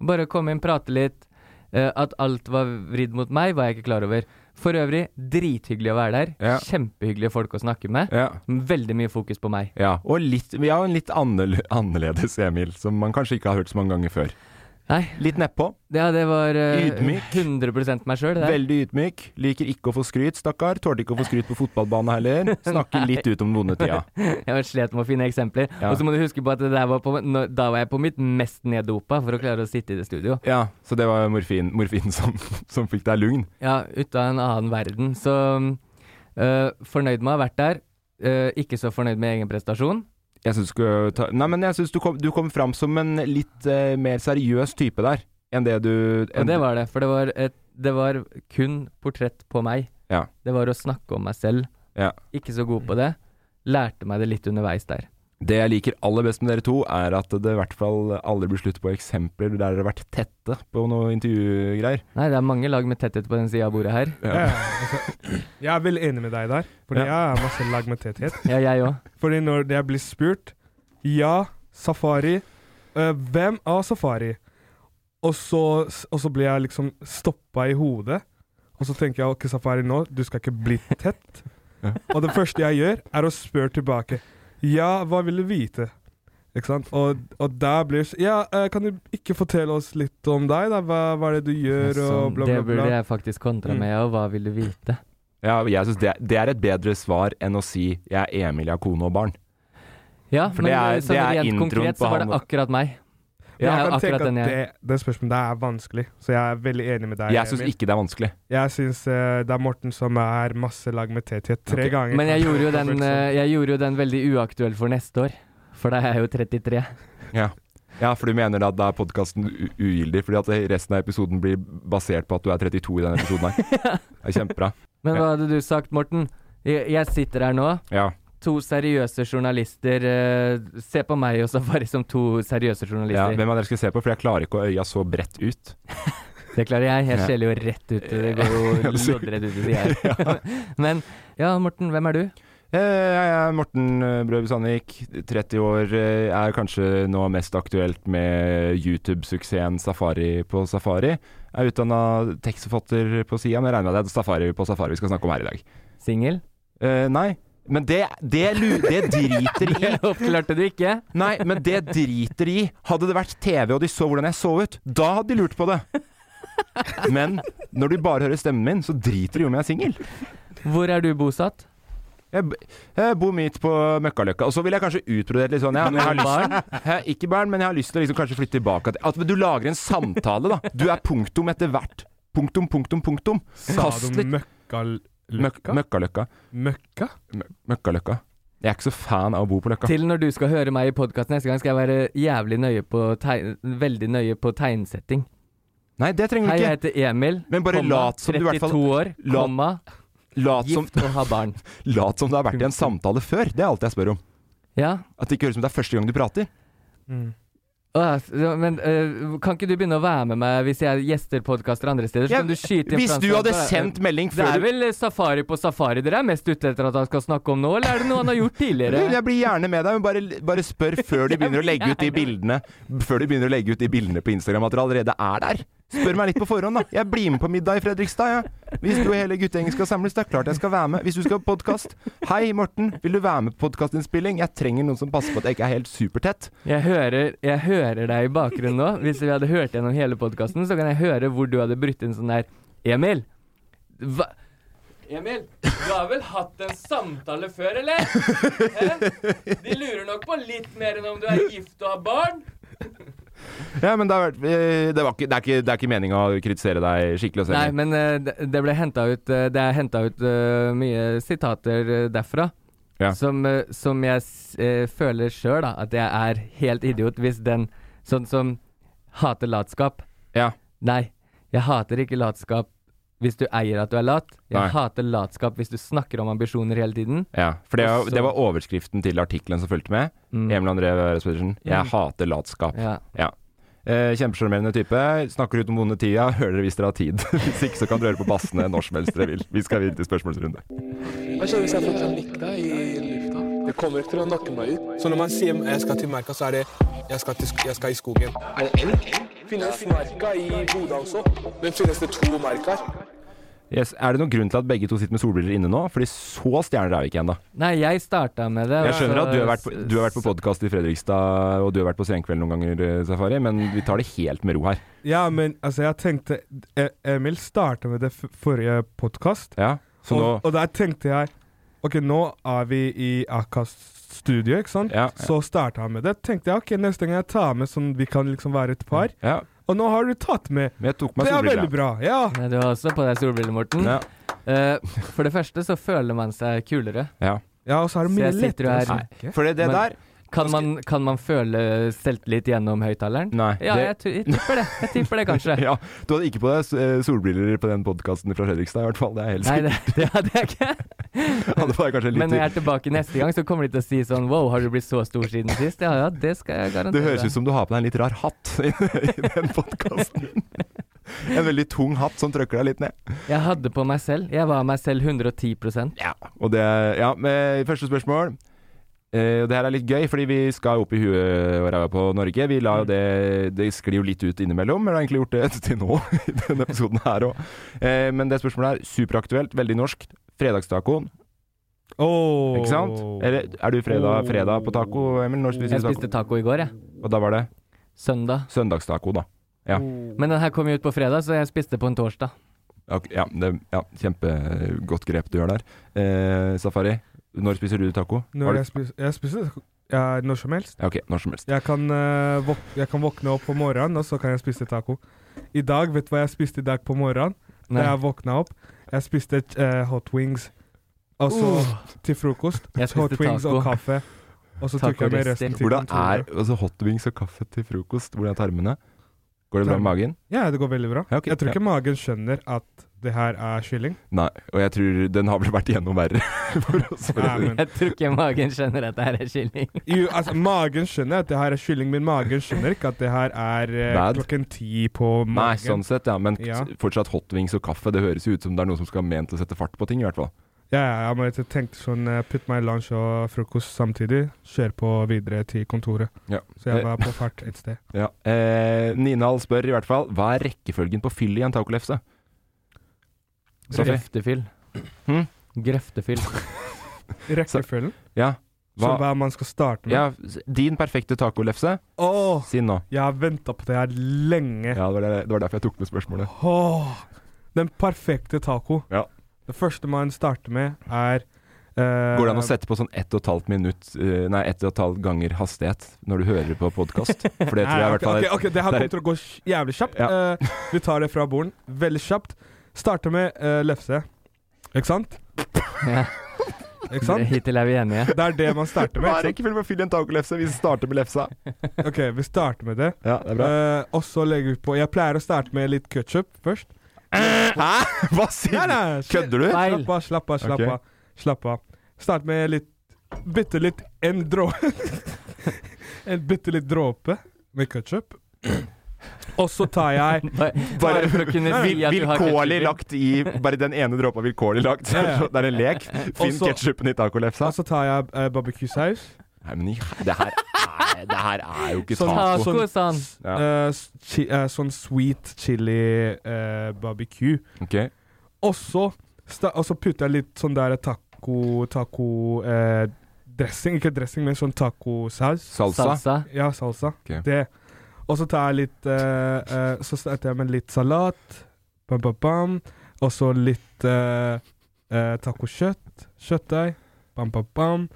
S3: Bare komme inn, prate litt. eh, at alt var vridd mot meg, var jeg ikke klar over. For øvrig, drithyggelig å være der.
S1: Ja.
S3: Kjempehyggelige folk å snakke med.
S1: ja.
S3: Veldig mye fokus på meg.
S1: Ja, og litt, ja, en litt annerle- annerledes Emil, som man kanskje ikke har hørt så mange ganger før.
S3: Nei,
S1: Litt nedpå.
S3: ja, det var eh,
S1: Ydmyk.
S3: 100 meg sjøl, det der.
S1: Veldig ydmyk. Liker ikke å få skryt, stakkar. Tålte ikke å få skryt på fotballbanen heller. Snakker litt ut om den vonde tida.
S3: Jeg slet med å finne eksempler.
S1: Ja.
S3: Og så må du huske på at det der var på, nå, da var jeg på mitt mest neddopa for å klare å sitte i det studio.
S1: Ja, så det var morfin, morfin som, som fikk deg lugn.
S3: Ja, ut av en annen verden. Så øh, fornøyd med å ha vært der. Øh, ikke så fornøyd med egen prestasjon.
S1: Jeg syns du skulle ta Nei, men jeg syns du kom, du kom fram som en litt eh, mer seriøs type der, enn det du
S3: Og det var det, for det var, et, det var kun portrett på meg.
S1: Ja.
S3: Det var å snakke om meg selv.
S1: Ja.
S3: Ikke så god på det. Lærte meg det litt underveis der.
S1: Det jeg liker aller best med dere to, er at det i hvert fall aldri blir slutt på eksempler der dere har vært tette på noen intervjugreier.
S3: Nei, det er mange lag med tetthet på den sida av bordet her.
S2: Ja. altså, jeg er veldig enig med deg der, Fordi
S1: Ja.
S2: jeg er masse lag med tetthet.
S3: Ja, jeg
S1: (laughs)
S3: òg.
S2: Fordi når jeg blir spurt Ja, safari. eh, hvem av safari? Og så, og så blir jeg liksom stoppa i hodet. Og så tenker jeg ok, safari nå, du skal ikke bli
S3: (laughs)
S2: tett.
S1: Ja.
S2: Og det første jeg gjør, er å spørre tilbake. Ja, hva vil du vite? Ikke sant? Og, og der blir s- Ja, eh, kan du ikke fortelle oss litt om deg, da? Hva, hva er det du gjør, og bla,
S3: det
S2: bla, bla.
S3: burde jeg faktisk kontra
S2: Mm.
S3: med, og hva vil du vite?
S1: Ja, og jeg synes det, det er et bedre svar enn å si 'jeg er Emil, jeg har kone og barn'.
S3: Ja,
S1: For
S3: men
S1: det er-
S3: øh,
S1: det
S3: sånn
S1: er
S3: rent
S1: introen
S3: konkret
S1: på
S3: så var det
S1: han-
S3: akkurat meg. Det
S2: Jeg
S3: er jo
S2: kan tenke
S3: akkurat
S2: at
S3: den jeg
S2: det, det spørsmålet der er vanskelig, så jeg er veldig enig med deg.
S1: Jeg syns
S2: Emil.
S1: ikke det er vanskelig.
S2: Jeg syns eh, det er Morten som er masse lag med tetthet. Tre
S1: Ok,
S2: ganger.
S3: Men jeg
S1: (laughs)
S3: gjorde, jo den,
S1: sånn.
S3: eh, jeg gjorde jo den veldig uaktuell for neste år. For da er jeg jo 33.
S1: Ja, for du mener at da er podkasten ugyldig, fordi at resten av episoden blir basert på at du er 32 i denne episoden
S2: (laughs)
S1: her. Det er kjempebra.
S3: (laughs) Men hva hadde du sagt, Morten? Jeg, jeg sitter her nå.
S1: Ja.
S3: To seriøse journalister. eh, se på meg og Safari som to seriøse
S1: ja.
S3: journalister.
S1: Hvem av dere skal jeg se på? For jeg klarer ikke å øya så bredt ut.
S3: det klarer jeg. Jeg
S1: Ja.
S3: skjeller jo rett ut. Det går jo
S1: (laughs) Ja, så-
S3: loddrett ut i
S1: (laughs)
S3: sida her. (laughs) Men ja, Morten, hvem er du?
S1: Eh, Jeg er Morten eh, Brøby Sandvik, 30 år. eh, Er kanskje nå mest aktuelt med YouTube-suksessen Safari på Safari. Jeg er utdanna tekstforfatter på sida, men jeg regner med at det er Safari på Safari vi skal snakke om her i dag.
S3: Singel?
S1: Eh, nei, Men det, det, lu- det driter i.
S3: Det oppklarte du ikke.
S1: Nei, men det driter de i. Hadde det vært TV og de så hvordan jeg så ut, da hadde de lurt på det. Men når de bare hører stemmen min, så driter de i om jeg er singel.
S3: Hvor er du bosatt?
S1: Jeg, b- jeg bor midt på Møkkaløkka. Og så vil jeg kanskje utbrodere litt sånn ja, men jeg har lyst, Hæ, Ikke barn, men jeg har lyst til å liksom kanskje flytte tilbake til At du lager en samtale, da. Du er punktum etter hvert. Punktum, punktum, punktum.
S2: Sa
S1: Kast
S2: du
S1: litt Møk-
S2: møkkaløkka?
S1: Møkkaløkka.
S2: Møkka?
S1: Mø- Møkkaløkka. Jeg er ikke så fan av å bo på Løkka.
S3: Til når du skal høre meg i podkast neste gang, skal jeg være jævlig nøye på tegn, veldig nøye på tegnsetting.
S1: Nei, det trenger
S3: Hei,
S1: du
S3: jeg
S1: ikke.
S3: heter Emil.
S1: Men bare lat som du i hvert fall-
S3: 32 år,
S1: lat-
S3: komma,
S1: Lat som,
S3: gift og har
S1: (laughs)
S3: barn.
S1: lat som det har vært i en samtale før. Det er alt jeg spør om.
S3: Ja.
S1: At det ikke høres ut som det er første gang du prater.
S3: Åh, så- men øh, kan ikke du begynne å være med meg hvis jeg gjester podkaster andre steder? Så
S1: Jeg-
S3: kan du skyte inn
S1: Hvis
S3: fransk-
S1: du hadde
S3: Bare-
S1: sendt melding
S3: Det er
S1: før du
S3: vel safari på safari dere er mest ute etter at han skal snakke om nå, eller er det noe han har
S1: (laughs)
S3: gjort tidligere?
S1: Jeg blir gjerne med deg, men bare, bare spør
S3: (laughs)
S1: før de begynner å legge ut de bildene Før de begynner å legge ut de bildene på Instagram at dere allerede er der. Spør meg litt på forhånd, da. Jeg blir med på middag i Fredrikstad, jeg. Hvis du og hele guttegjengen skal samles, det er klart jeg skal være med. Hvis du skal på podkast. Hei, Morten. Vil du være med på podkastinnspilling? Jeg trenger noen som passer på at jeg ikke er helt supertett.
S3: Jeg hører, jeg hører deg i bakgrunnen nå. Hvis vi hadde hørt gjennom hele podkasten, så kan jeg høre hvor du hadde brutt inn sånn der Emil! Hva? Emil, du har vel hatt en samtale før, eller? Hæ? De lurer nok på litt mer enn om du er gift og har barn.
S1: Ja, men det, har vært, eh, det, var ikke, det er ikke, det er ikke meninga å kritisere deg skikkelig.
S3: Nei,
S1: Nei,
S3: men eh, det det ble henta ut eh, Det er henta ut eh, mye sitater eh, derfra.
S1: Ja.
S3: Som, eh, som jeg s- eh, føler sjøl, da. At jeg er helt idiot hvis den Sånn som hater latskap.
S1: Ja.
S3: Nei, jeg hater ikke latskap hvis du eier at du er lat. Jeg
S1: Nei.
S3: hater latskap hvis du snakker om ambisjoner hele tiden.
S1: ja, for det,
S3: Også-
S1: det var overskriften til artikkelen som fulgte med.
S3: Mm.
S1: Emil André Wæres Pedersen. Jeg
S3: Mm.
S1: hater latskap.
S3: Ja.
S1: Ja. Eh, Kjempesjarmerende type. Snakker ut om vonde tida. Hører dere hvis dere har tid. (laughs) hvis ikke så kan dere høre på bassene når som helst dere vil. Vi skal videre til spørsmålsrunde.
S6: Hva skjer hvis jeg får panikk i lufta? Det kommer ikke til å nakke meg ut. Så når man sier jeg skal til merka, så er det jeg skal, i skogen. Er det elg? Finnes merka i Bodø også? Men finnes det to merker?
S1: Yes. Er det noen grunn til at begge to sitter med solbriller inne nå? Fordi så stjerner er vi ikke ennå.
S3: Nei, jeg starta med det.
S1: Jeg
S3: og
S1: skjønner
S3: så-
S1: at du har vært
S3: altså,
S1: på, du har vært på podkast i Fredrikstad, og du har vært på Senkveld noen ganger, eh, Safari, men vi tar det helt med ro her.
S2: Ja, men altså, jeg tenkte E- Emil starta med det f forrige podkast,
S1: Ja? Så nå
S2: og, og der tenkte jeg Ok, nå er vi i Akast studio, ikke sant?
S1: Ja, ja.
S2: Så starta han med det. Tenkte jeg ok, neste gang jeg tar med sånn vi kan liksom være et par.
S1: Ja,
S2: Og nå har du tatt med.
S1: men jeg tok meg
S2: Det er
S1: solbriller.
S2: veldig bra. Ja.
S3: Nei, Du har også på deg solbriller, Morten.
S1: Ja.
S3: Eh, for det første så føler man seg kulere.
S1: Ja.
S2: ja, og så er det
S3: Så
S2: mye
S3: jeg sitter
S2: lettere å
S3: her-
S2: snakke.
S1: For det, det
S3: Men-
S1: der
S3: Kan man, kan man føle selvtillit gjennom høyttaleren?
S1: Nei.
S3: Ja,
S1: det,
S3: jeg, tu- jeg tipper det. Jeg tipper det (laughs) kanskje.
S1: (laughs) ja, du hadde ikke på deg eh, solbriller på den podkasten fra Fredrikstad, i hvert fall. Det er helt
S3: Nei,
S1: sikkert.
S3: det, det hadde jeg ikke.
S1: Hadde bare kanskje
S3: Men
S1: (laughs) litt
S3: når jeg er tilbake neste gang, så kommer de til å si sånn Wow, har du blitt så stor siden sist? Ja ja, det skal jeg
S1: Det
S3: garantere.
S1: høres ut som du har på deg en litt rar hatt i, i den podkasten.
S3: (laughs)
S1: En veldig tung hatt som trøkker deg litt ned.
S3: Jeg hadde på meg selv. Jeg var meg selv 110
S1: Ja, og det, ja med Første spørsmål. Eh, og det her er litt gøy, fordi vi skal opp i huet og ræva på Norge. Vi la jo det Det sklir jo litt ut innimellom, men har egentlig gjort det (laughs) til nå i denne episoden her òg. Eh, men det spørsmålet er superaktuelt, veldig norsk. Fredagstacoen,
S2: Åh.
S1: ikke sant? Eller er du fredag, fredag på taco, Emil? Når spiser
S3: Jeg
S1: du taco?
S3: spiste taco i går, jeg.
S1: Og da var det
S3: Søndag.
S1: søndagstaco, da. Ja.
S2: Oh.
S3: Men den her kom jo ut på fredag, så jeg spiste på en torsdag.
S1: Ok, ja, det, ja, kjempegodt grep du gjør der. Eh, Safari, når spiser du taco? Har
S2: Når
S1: du-
S2: jeg spiser, jeg spiser ja, når som helst.
S1: ja, ok, når som helst.
S2: Jeg kan, eh, våk jeg kan våkne opp på morgenen, og så kan jeg spise taco. I dag, vet du hva jeg spiste i dag på morgenen? Da jeg våkna opp, jeg spiste eh, hot wings. Og så
S1: Uh.
S2: til frokost
S3: Uh, Jeg spiste
S2: hot wings
S3: taco.
S2: og kaffe. Og så tok jeg med
S3: Tacorester.
S2: resten til
S1: Hvordan er
S2: kontoret.
S1: altså hotwings og kaffe til frokost? Hvordan er tarmene? Går det bra med magen?
S2: Ja, det går veldig bra.
S1: Ja, ok,
S2: jeg tror
S1: ja.
S2: ikke magen skjønner at det her er kylling.
S1: Nei, og jeg tror den har vel vært igjennom verre. (laughs) for oss.
S2: Nei,
S3: (laughs)
S2: men,
S3: Jeg tror ikke magen skjønner at det her er kylling.
S2: jo, altså, magen skjønner at det her er kylling, men magen skjønner ikke at det her er eh,
S1: Bad.
S2: klokken ti på magen.
S1: Nei, sånn sett, ja. Men
S2: Ja.
S1: fortsatt hotwings og kaffe, det høres jo ut som det er noe som skal ment til å sette fart på ting, i hvert fall.
S2: Ja, ja, jeg må jeg tenkte sånn eh, Putt meg i lunsj og frokost samtidig. Kjør på videre til kontoret.
S1: Ja.
S2: Så jeg var på fart et sted.
S1: Ja. Eh, Ninal spør i hvert fall hva er rekkefølgen på fyll i en tacolefse? Sofie?
S3: Grøftefyll.
S1: Hm?
S2: (laughs)
S3: Grøftefyll.
S2: Rekkefølgen?
S1: Ja. Hva,
S2: Som hva man skal starte med?
S1: ja, s- din perfekte tacolefse?
S2: Åh,
S1: Si den nå.
S2: jeg har venta på det her lenge.
S1: Ja, det var, det, det var derfor jeg tok med spørsmålet.
S2: Åh, den perfekte taco.
S1: Ja.
S2: Det første man starter med, er eh,
S1: Går det an å sette på sånn ett og et halvt minutt eh, Nei, ett og et halvt ganger hastighet når du hører på podkast? For
S2: (laughs)
S1: det tror jeg i
S2: Nei,
S1: hvert fall
S2: ok, ok, ok, Det her
S1: det er-
S2: kommer til å gå sj- jævlig kjapt.
S1: Ja.
S2: Eh, vi tar det fra borden. Veldig kjapt. Starter med eh, lefse. Ikke sant?
S3: Ja.
S2: Ikke sant?
S3: Hittil er vi enige.
S2: Det er det man starter
S1: Hva er
S2: med. Ikke
S1: rekkefølgen på å fylle en tacolefse? Vi starter med lefsa.
S2: sant? Ok, Vi starter med det.
S1: Ja, det er bra.
S2: Eh, og så legger vi på Jeg pleier å starte med litt ketsjup først.
S1: Eh. Hæ? Hva sier
S2: Nei,
S1: du?
S2: nei, shit.
S1: Kødder du?
S3: Nei. Feil.
S2: Slapp av, slapp av, slapp
S1: Ok.
S2: av. Slapp av. Start med litt Bitte litt en dråpe (laughs) En bitte litt dråpe med ketsjup. Og så tar jeg
S3: (laughs) Bare,
S1: Bare-
S3: bare for å kunne si
S1: Vil,
S3: at du har
S1: vilkårlig
S3: ketchup.
S1: lagt i Bare den ene dråpa vilkårlig lagt.
S2: Ja, ja.
S1: (laughs) Det er en lek. Finn
S2: Også-
S1: ketsjupen i
S2: Og
S1: tacolefsa.
S2: så tar jeg uh, barbecue-saus.
S1: Nei, men i he- det her er, det her er jo ikke
S2: Sånn-
S1: taco.
S3: Taco, sa han.
S1: Ja.
S2: Eh, s- chi, eh, sånn sweet chili eh, barbecue.
S1: Ok.
S2: Og så sta- og så putter jeg litt sånn der taco Taco eh, dressing. Ikke dressing, men sånn tacosaus.
S1: Salsa.
S3: Salsa.
S2: Ja, salsa.
S1: Ok.
S2: Det. Og så tar jeg litt eh, eh, Så starter jeg med litt salat. Bam, bam, bam. Og så litt eh, eh, tacokjøtt. Kjøttdeig. Bam, bam, bam.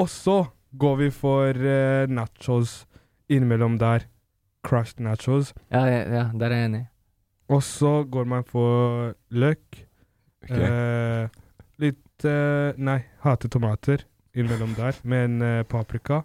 S2: Og så går vi for eh, nachos innimellom der. Crushed nachos.
S3: Ja, ja, ja, der er jeg enig.
S2: Og så går man for løk.
S1: Ok.
S2: Eh, litt eh, Nei, hater tomater innimellom der, med en eh, paprika.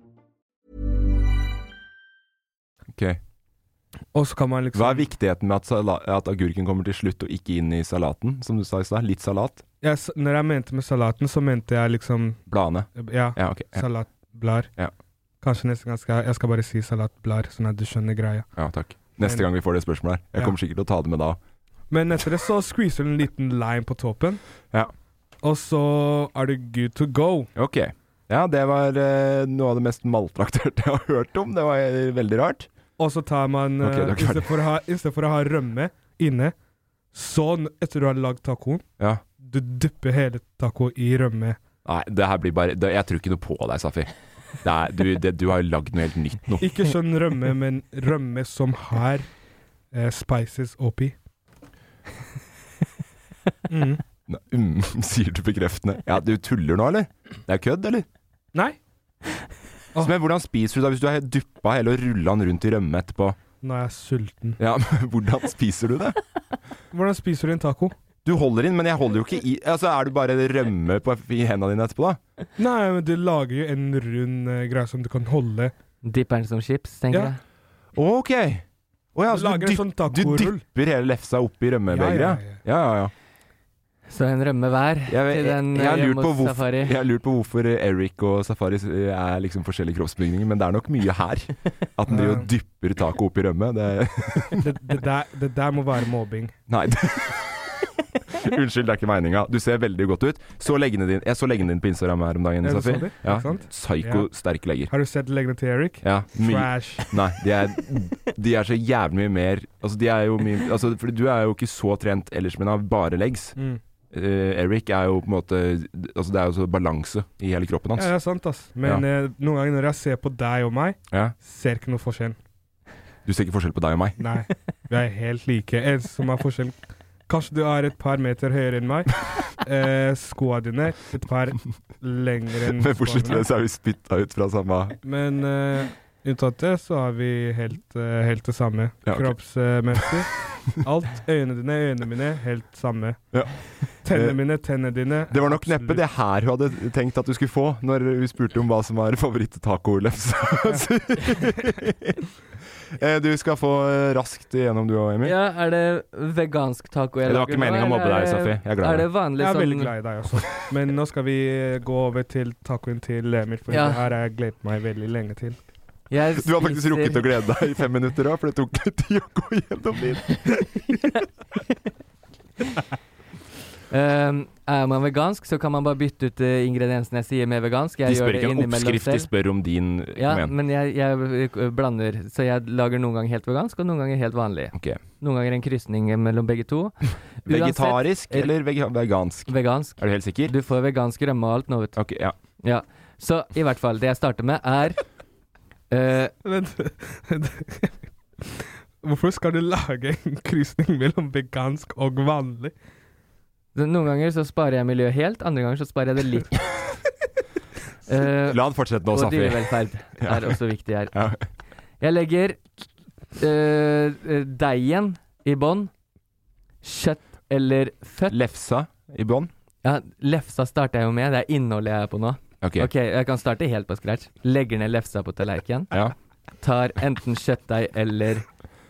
S1: Ok.
S2: Og så kan man liksom
S1: Hva er viktigheten med at, sala at agurken kommer til slutt og ikke inn i salaten, som du sa i stad? Litt salat?
S2: Ja, s- Når jeg mente med salaten, så mente jeg liksom
S1: Bladene?
S2: Ja,
S1: Ja, ok. Ja,
S2: salatblader.
S1: Ja.
S2: Kanskje neste gang skal jeg, jeg skal bare si salatblader, sånn at du skjønner greia.
S1: ja takk. Neste gang vi får det spørsmålet her. Jeg
S2: Ja.
S1: kommer sikkert til å ta det med da.
S2: Men etter det så squeezer du en liten lime på toppen,
S1: Ja.
S2: og så er du good to go.
S1: Ok. Ja, det var eh, noe av det mest maltrakterte jeg har hørt om. Det var eh, veldig rart.
S2: Og så tar man
S1: Ok,
S2: eh,
S1: da klarer
S2: i stedet for å ha- I stedet for å ha rømme inne, sånn etter du har lagd tacoen
S1: Ja.
S2: Du dypper hele taco i rømme.
S1: Nei, det her blir bare det, Jeg tror ikke noe på deg, Safi. Det er, du, det, du har jo lagd noe helt nytt
S2: (laughs)
S1: nå.
S2: Ikke sånn
S1: (laughs)
S2: rømme, men rømme som har eh, spices oppi. Mm.
S1: Nei, Mm, (laughs) sier du bekreftende. Ja, du tuller nå, eller? Det er kødd, eller?
S2: Nei. Åh.
S1: Men hvordan spiser du da hvis du har dyppa hele og rulla den rundt i rømme etterpå? (laughs)
S2: Nå er jeg sulten.
S1: Ja, men hvordan spiser du det?
S2: Hvordan spiser du en taco?
S1: Du holder inn, men jeg holder jo ikke i Altså, er du bare rømme på, i hendene dine etterpå, da?
S2: Nei, men du lager jo en rund eh, greie som du kan holde.
S3: Dipper den som chips, tenker
S2: Ja.
S3: jeg.
S1: Ok! Å ja,
S2: Du
S1: så
S2: lager
S1: du,
S2: en
S1: dyp,
S2: sånn
S1: du
S2: tacorull.
S1: dypper hele lefsa oppi rømmebegeret?
S2: Ja,
S1: Ja,
S2: ja, ja.
S1: ja, ja.
S3: Så en rømme hver
S1: Jeg, jeg,
S3: til
S1: jeg,
S3: den eh,
S1: har lurt
S3: hjemme
S1: på
S3: hos
S1: hvorf-
S3: Safari.
S1: jeg har lurt på hvorfor Eric og Safari s- er liksom forskjellige kroppsbygninger, men det er nok mye her. At den driver og dypper taco oppi rømme. Det,
S2: Det, det, der, det der må være mobbing.
S1: (laughs) nei. Unnskyld, det er ikke meninga. Du ser veldig godt ut. Så leggene dine, jeg så leggene dine på Instagram her om dagen,
S2: Ja, du så
S1: Safi.
S2: de,
S1: Ja.
S2: ikke sant?
S1: Psyko
S2: Ja.
S1: sterke legger.
S2: Har du sett leggene til Eric?
S1: Ja, mye
S2: Trash.
S1: Nei, de er, de er så jævlig mye mer Altså, de er jo mye altså, Fordi du er jo ikke så trent ellers, men har bare legs.
S2: Mm.
S1: Eh, Eric er jo på en måte Altså, det er jo så balanse i hele kroppen
S2: Ja,
S1: hans.
S2: det er sant, ass. Men eh, noen ganger når jeg ser på deg og meg,
S1: Ja.
S2: ser ikke noe forskjell.
S1: Du ser ikke forskjell på deg og meg.
S2: Nei. Vi er helt like. Eneste som er forskjell Kanskje du er et par meter høyere
S1: (laughs)
S2: enn meg. Eh, skoa dine et par lengre
S1: (laughs)
S2: enn
S1: Men
S2: skoene
S1: bortsett fra
S2: mine.
S1: det, så er vi spytta ut fra samme
S2: Men eh, unntatt det, så er vi helt, eh, helt det samme
S1: Ja, ok.
S2: kroppsmessig. Alt. Øynene dine, øynene mine, helt samme.
S1: Ja.
S2: Tennene
S1: Eh,
S2: mine, tennene dine.
S1: Det var nok neppe
S2: absolutt.
S1: det her hun hadde tenkt at du skulle få, når hun spurte om hva som
S3: (laughs)
S1: var favoritt-tacolefsa. Eh, du skal få eh, raskt igjennom du òg, Emil.
S3: Ja, er det vegansk taco jeg
S1: Det var ikke
S3: nå,
S1: meningen å mobbe
S3: eller
S1: deg,
S3: er det-
S1: Safi. Jeg er glad i
S3: Er det
S1: deg.
S3: vanlig
S2: Jeg er veldig
S3: sånn
S2: glad i deg også. Men nå skal vi eh, gå over til tacoen til Emil, for
S3: Ja.
S2: det her har jeg gledet meg veldig lenge til.
S3: jeg
S1: Du har faktisk
S3: spiser-
S1: rukket å glede deg i fem minutter òg, for det tok (laughs) litt tid å gå gjennom din.
S3: Ehm, er man vegansk, så kan man bare bytte ut eh, ingrediensene jeg sier med vegansk. Jeg gjør det innimellom selv.
S1: spør om din. eh,
S3: Ja, men jeg, jeg eh, blander. Så jeg lager noen ganger helt vegansk, og noen ganger helt vanlig.
S1: Ok.
S3: Noen ganger en krysning mellom begge to.
S1: Vegetarisk
S3: eh,
S1: eller vega- vegansk?
S3: Vegansk.
S1: Er du helt sikker?
S3: Du får vegansk rømme og alt nå, vet du.
S1: Ok, ja.
S3: Ja. Så i hvert fall, det jeg starter med, er eh,
S2: Vent Hvorfor skal du lage en krysning mellom vegansk og vanlig?
S3: Noen ganger så sparer jeg miljø helt, andre ganger så sparer jeg det litt. Eh,
S1: La han fortsette nå,
S3: og
S1: Safi.
S3: dyrevelferd
S1: (laughs) Ja.
S3: er også viktig her.
S1: Ja.
S3: Jeg legger eh, eh, deigen i bånn. Kjøtt eller føtt.
S1: Lefsa i bånn?
S3: Ja, lefsa starter jeg jo med. Det er innholdet jeg er på nå.
S1: Ok.
S3: Ok, Jeg kan starte helt på scratch. Legger ned lefsa på tallerkenen.
S1: Ja.
S3: Tar enten kjøttdeig eller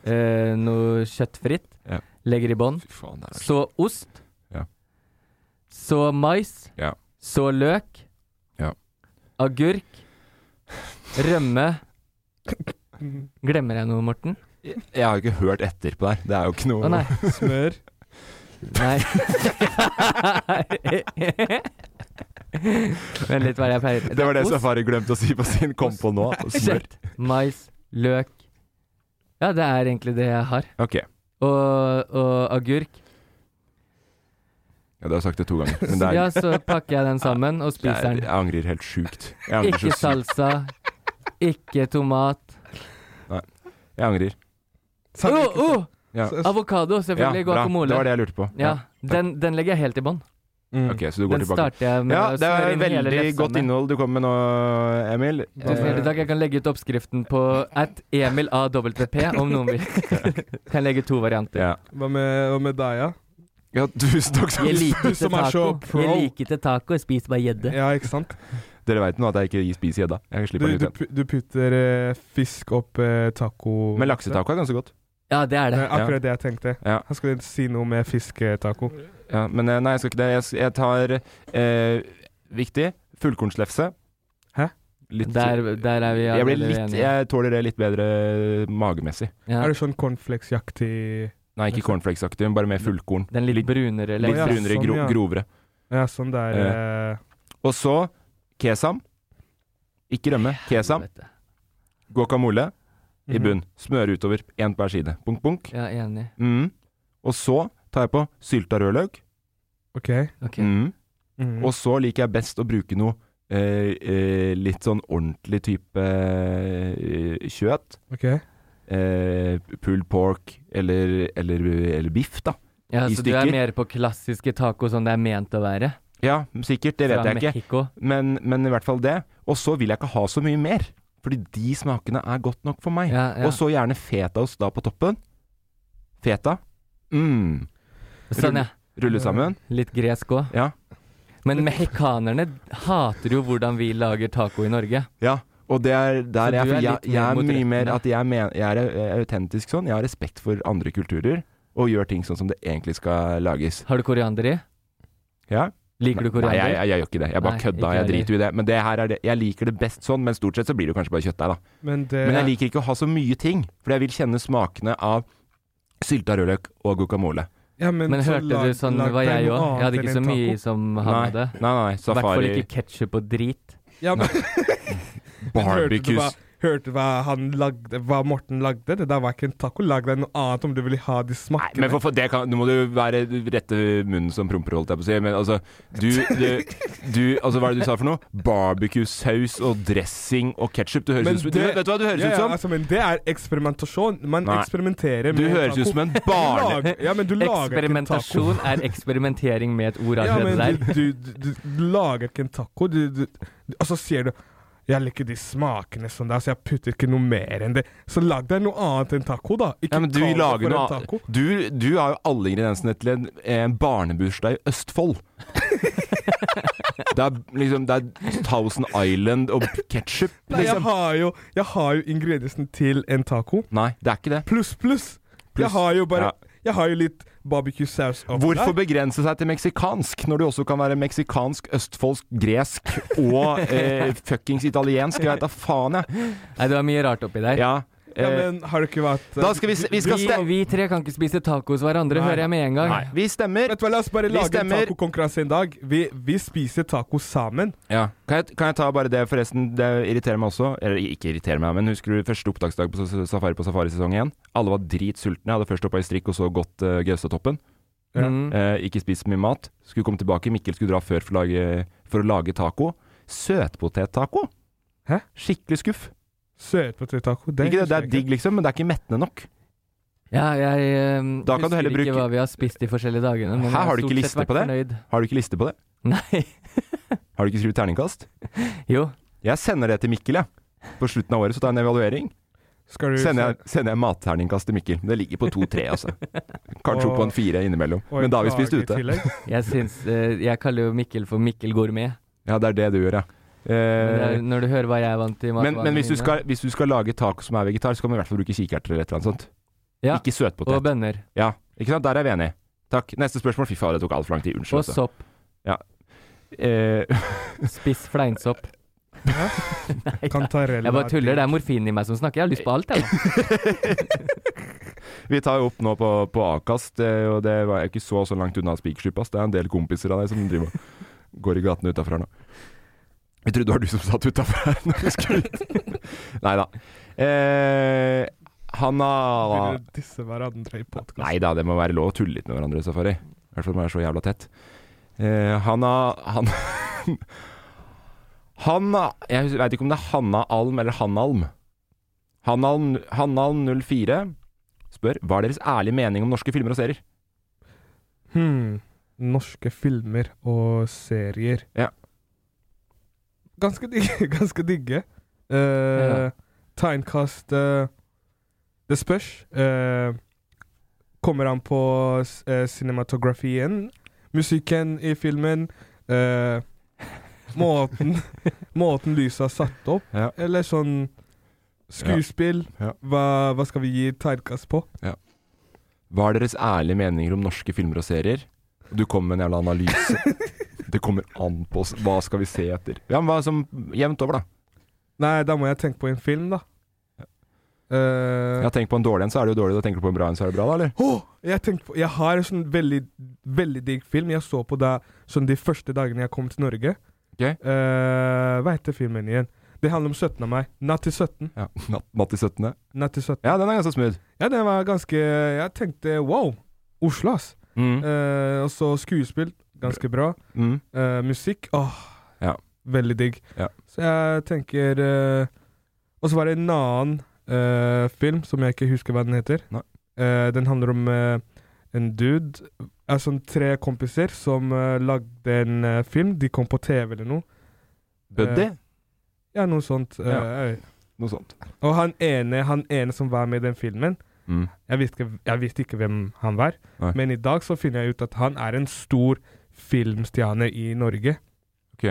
S3: eh, noe kjøttfritt.
S1: Ja.
S3: Legger i bånn.
S1: Fy faen, det er
S3: Så ost.
S1: Ja.
S3: Så mais.
S1: Ja.
S3: Så løk.
S1: Ja.
S3: Agurk. Rømme. Glemmer jeg noe, Morten?
S1: Jeg har jo ikke hørt etter på der. Det er jo ikke
S3: Å
S1: noe
S3: nei.
S2: Smør?
S3: Nei. (laughs) Vent litt, hva er det jeg pleier
S1: Det var det
S3: Ost,
S1: Safari glemte å si på sin kom på nå. Smør.
S3: Kjøtt, mais, løk. Ja, det er egentlig det jeg har.
S1: Ok. Ja,
S3: Og, og agurk.
S1: du har sagt det to ganger. Men det er,
S3: Ja, så pakker jeg den sammen og
S1: jeg,
S3: spiser
S1: jeg
S3: den.
S1: angrer helt sjukt. Jeg angrer,
S3: Ikke
S1: så, sykt.
S3: salsa, ikke tomat.
S1: jeg angrer.
S2: Sa
S3: Å,
S2: du
S3: oh,
S2: ikke-
S1: Ja.
S2: sa- sa-
S3: avokado,
S1: Ja,
S3: selvfølgelig.
S1: bra. Det var
S3: Guacamole.
S1: det jeg lurte på.
S3: Ja, den, den legger jeg helt i bånn.
S2: Mm.
S1: Ok, så du
S3: Den
S1: går tilbake.
S3: starter jeg med
S1: Ja,
S3: å
S1: det
S3: smøre
S1: er
S3: inn hele
S1: veldig
S3: lefsa
S1: godt
S3: med.
S1: innhold du kommer med nå, Emil.
S2: Da-
S3: Tusen hjertelig takk. Jeg kan legge ut oppskriften på at emilavp om noen vil. kan legge to varianter.
S1: (laughs) Ja.
S2: Hva med, hva med deg, ja?
S1: ja, tusen takk.
S3: Jeg
S1: Safi.
S3: liker
S2: Du
S3: ikke
S2: som er
S3: taco.
S2: så pro.
S3: Jeg liker ikke taco. Jeg spiser bare gjedde.
S2: Ja, ikke sant?
S1: Dere veit nå at jeg ikke spiser gjedda. Jeg
S2: Du,
S1: slipper den ut
S2: du,
S1: igjen.
S2: pu- du putter eh, fisk opp eh, taco...
S1: Men laksetaco er ganske godt.
S3: Ja, det er
S2: Det
S3: det.
S2: er akkurat det jeg tenkte.
S1: Ja.
S2: Jeg skulle si noe med fisketaco.
S1: Ja, men eh, nei, jeg skal ikke det. Jeg, s- jeg tar eh, Viktig. Fullkornslefse.
S2: Hæ?
S1: Litt,
S3: Der, der er vi
S1: jeg, blir
S3: allerede
S1: litt,
S3: enige.
S1: jeg tåler det litt bedbedre magemessig.
S3: Ja.
S2: Er det sånn cornflakes-jaktig
S1: Nei, ikke cornflakesaktig, men bare med fullkorn.
S3: Den litt brunere.
S1: Litt
S2: Å, ja,
S3: Liksom.
S1: brunere,
S2: sånn,
S1: gro
S2: ja.
S1: grovere.
S2: Ja, sånn der eh,
S1: Og så kesam. Ikke rømme. Kesam.
S3: Helvete.
S1: Guacamole i
S2: mhm.
S1: bunn. Smøre utover. Én på hver side. Bunk, bunk.
S3: Ja, enig.
S1: Mm. Og så tar jeg på sylta rødløk.
S2: Ok.
S3: Ok.
S1: Mm.
S2: Mhm.
S1: Og så liker jeg best å bruke noe eh, eh, litt sånn ordentlig type eh, kjøtt.
S2: ok.
S1: Eh, pulled pork eller, eller, eller biff, da.
S3: Ja,
S1: I
S3: så du er
S1: stykker.
S3: mer på klassiske taco som det er ment å være?
S1: Ja, sikkert. Det vet jeg ikke.
S3: Mexico.
S1: Men, men i hvert fall det. Og så vil jeg ikke ha så mye mer. Fordi de smakene er godt nok for meg.
S3: Ja, ja.
S1: Og så gjerne fetaost da på toppen. Feta. Mm.
S3: Sånn, ja.
S1: Rulle sammen.
S3: Litt gresk òg.
S1: Ja.
S3: Men mexikanerne hater jo hvordan vi lager taco i Norge.
S1: Ja, og det er der
S3: Så
S1: jeg,
S3: du
S1: for
S3: er
S1: jeg,
S3: litt mer
S1: jeg er
S3: mot
S1: mye mer
S3: rettene.
S1: at jeg, men, jeg er eh, autentisk sånn. Jeg har respekt for andre kulturer, og gjør ting sånn som det egentlig skal lages.
S3: Har du koriander i?
S1: Ja?
S3: Liker du
S1: Nei,
S3: koriander?
S1: jeg, jeg, jeg gjør ikke det. Jeg bare
S3: Nei,
S1: kødda.
S3: ikke
S1: Jeg
S3: heller.
S1: driter jo i det. Men det her er det. Jeg liker det best sånn, men stort sett så blir det jo kanskje bare kjøttdeig, da.
S2: Men det
S1: Men jeg liker ikke å ha så mye ting, for jeg vil kjenne smakene av sylta rødløk og guacamole.
S2: ja, men,
S3: Men
S2: så
S3: hørte
S2: lag-
S3: du sånn
S2: lag
S3: var
S2: deg
S3: jeg
S2: noe
S3: òg? Jeg
S2: annet
S3: hadde
S2: enn
S3: ikke
S2: en
S3: så mye
S2: taco.
S3: som han
S1: Nei,
S3: hadde.
S1: nei, nei.
S3: I hvert fall
S1: Safari
S3: ikke ketsjup og drit.
S2: Ja, men, men (laughs) hørte, du hva,
S1: barbecues.
S2: hørte hva han lagde Hva Morten lagde? Det der var ikke en taco. Lag deg noe annet om du vil ha de
S1: Nei,
S2: smakene.
S1: men for, for det kan, nå må du være rette munnen som promper, holdt jeg på å si. Men altså, du, du, du altså, Hva er det du sa for noe? Barbecue-saus og dressing og ketsjup. Du høres
S2: Men
S1: ut som du,
S2: det-
S1: Vet du hva du høres
S2: ja,
S1: ut
S2: ja,
S1: som?
S2: altså, men det er eksperimentasjon. Man
S1: Nei.
S2: eksperimenterer
S1: du
S2: med
S1: høres
S2: taco.
S1: ut som en
S2: (laughs) Du
S1: barne...
S2: lager- Ja, men du lager ikke en taco.
S3: Eksperimentasjon er eksperimentering med et ord
S2: Ja,
S3: allerede
S2: men
S3: der.
S2: du, du, du, du lager ikke en taco. Du, du, du, og så sier du jeg liker de smakene sånn der, så jeg putter ikke noe mer enn det. Så lag deg noe annet enn taco, da. Ikke
S1: Ja, men du
S2: kall det
S1: lager
S2: for
S1: noe
S2: en taco.
S1: annet. Du, du har jo alle ingrediensene til en, en barnebursdag i
S2: (laughs)
S1: Østfold. det er liksom Det er Thousand Island og ketsjup.
S2: Nei, jeg
S1: Liksom.
S2: har jo, jeg har jo ingrediensen til en taco.
S1: Nei, det er ikke det.
S2: Pluss, pluss.
S1: Pluss.
S2: Jeg har jo bare
S1: Ja.
S2: Jeg har jo litt barbecue-saus oppi
S1: Hvorfor
S2: der.
S1: begrense seg til meksikansk, når du også kan være meksikansk, østfoldsk, gresk og
S2: (laughs)
S1: eh, fuckings italiensk? Jeg vet da faen, jeg.
S3: Nei, det var mye rart oppi der.
S1: Ja,
S2: Ja,
S1: eh,
S2: men har du ikke vært
S1: da skal vi, s- vi skal
S3: vi,
S1: stemme.
S3: vi tre kan ikke spise tacos hverandre,
S2: Nei.
S3: hører jeg med en gang.
S1: Nei, vi stemmer.
S2: Vet du hva, La oss bare
S1: Vi
S2: lage en
S1: stemmer.
S2: tacokonkurranse en dag. Vi, vi spiser taco sammen.
S1: Ja. Kan, jeg, kan jeg ta bare det, forresten? Det irriterer meg også. Eller ikke irriterer meg, men husker du første opptaksdag på s- safari på safarisesong igjen? Alle var dritsultne. Jeg hadde først hoppa i strikk og så gått uh, Gaustatoppen.
S2: Ja.
S3: Mm.
S1: Eh, ikke spist så mye mat. Skulle komme tilbake. Mikkel skulle dra før for, å lage, for å lage taco. Søtpotettaco.
S2: Hæ?
S1: Skikkelig skuff.
S2: Søtpotettaco.
S1: Det
S2: Det,
S1: er, ikke det, det
S2: husker
S1: er
S2: jeg
S1: digg, liksom, men det er ikke mettende nok.
S3: Ja, jeg eh,
S1: Da kan du
S3: husker
S1: heller
S3: ikke
S1: bruke-
S3: hva vi har spist de forskjellige dagene. Men
S1: Hæ,
S3: jeg
S1: har du
S3: stort sett
S1: ikke liste på
S3: vært (laughs)
S1: Har du ikke liste på det?
S3: Fornøyd.
S1: Har du ikke skrevet terningkast?
S3: Nei. Jo.
S1: Jeg sender det til Mikkel, jeg. På slutten av året så tar jeg en evaluering.
S2: Skal du
S1: Sender jeg, sender jeg matterningkast til Mikkel. Det ligger på 2-3,
S2: (laughs)
S1: altså. Kanskje opp på en 4 innimellom.
S2: Og
S1: Men
S2: en
S1: da har vi
S2: klage
S1: spist
S2: i
S1: ute.
S2: tillegg.
S3: Jeg syns eh, Jeg kaller jo Mikkel for Mikkel Gourmet.
S1: (laughs) Ja, det er det du gjør, ja.
S3: Men det
S1: Eh,
S3: er- Når du hører hva jeg er vant til i
S1: men
S3: matvarene
S1: men hvis, du
S3: mine.
S1: skal, hvis du skal lage taco som er vegetar, så kan du i hvert fall bruke kikerter eller et eller annet sånt.
S3: Ja,
S1: Ikke
S3: og
S1: søtpotet.
S3: bønner.
S1: Ja, ikke sant? Der er vi enige. Takk. Neste spørsmål. Fy faen, det tok altfor lang tid.
S3: Og
S1: Unnskyld. altså.
S3: sopp.
S1: Eh,
S3: Spiss
S1: (laughs)
S3: fleinsopp. (laughs) Nei, da.
S2: Kantarella.
S3: jeg bare tuller. Det er morfin i meg som snakker. Jeg har lyst på alt, jeg.
S1: (laughs)
S3: da.
S1: Vi tar jo opp nå på, på Akast, eh, og det var jeg ikke så så langt unna Spikersuppa. Det er en del kompiser av deg som driver og går i gatene utafor her nå. Jeg trodde det var du som satt utafor her når vi skulle ut. (laughs) Nei da. Eh, han har
S2: Begynner å disse hverandre i podkast.
S1: Nei da, det må være lov å tulle litt med hverandre i safari. I hvert fall når det er så jævla tett. Eh, han har Han (laughs) Hanna Jeg veit ikke om det er Hanna Alm eller Hanalm. Hanalm, Hanalm04 spør hva er deres ærlige mening om norske filmer og serier.
S2: Hmm. Norske filmer og serier.
S1: Ja.
S2: Ganske digge. (laughs) Ganske digge. Eh,
S3: Ja.
S2: Tegnkast eh, Det spørs. Eh, kommer an på s- eh, cinematografien, musikken i filmen,
S1: (laughs)
S2: eh, måten, måten lyset er satt opp,
S1: Ja.
S2: eller sånn skuespill.
S1: Ja. Ja.
S2: Hva, hva skal vi gi tegnkast på?
S1: Hva er deres ærlige meninger om norske filmer og serier? Og Du kommer med en jævla analyse. Det kommer an på oss. Hva skal vi se etter? Ja, men hva som Jevnt over, da.
S2: Nei, da må jeg tenke på en film, da. Eh,
S1: Ja, Tenk på en dårlig en, så er det jo dårlig. Da tenker du på en bra en, så er det bra, da, eller?
S2: Åh, jeg, tenkte på, jeg har en sånn veldig, veldig digg film jeg så på da, sånn de første dagene jeg kom til Norge.
S1: Ok.
S2: Eh, hva heter filmen igjen? Det handler om 17 av meg. Natt til 17.
S1: Ja, Natt, natt til 17.
S2: Natt til 17.
S1: Ja, den er ganske smooth.
S2: Ja, den var ganske Jeg tenkte wow, Oslo, ass.
S1: Mm.
S2: Eh, og så skuespill, ganske bra.
S1: Mm.
S2: Eh, musikk, åh.
S1: Ja.
S2: Veldig digg.
S1: Ja.
S2: Så jeg tenker eh, Og så var det en annen eh, film som jeg ikke husker hva den heter.
S1: Nei.
S2: Eh, den handler om eh, en dude Altså sånn tre kompiser som eh, lagde en eh, film. De kom på TV eller noe.
S1: Buddy?
S2: Ja, noe sånt. eh,
S1: Ja. Noe sånt.
S2: Og han ene, han ene som var med i den filmen,
S1: Mm.
S2: jeg visste, ikke- jeg visste ikke hvem han var,
S1: Nei.
S2: men i dag så finner jeg ut at han er en stor filmstjerne i Norge.
S1: Ok.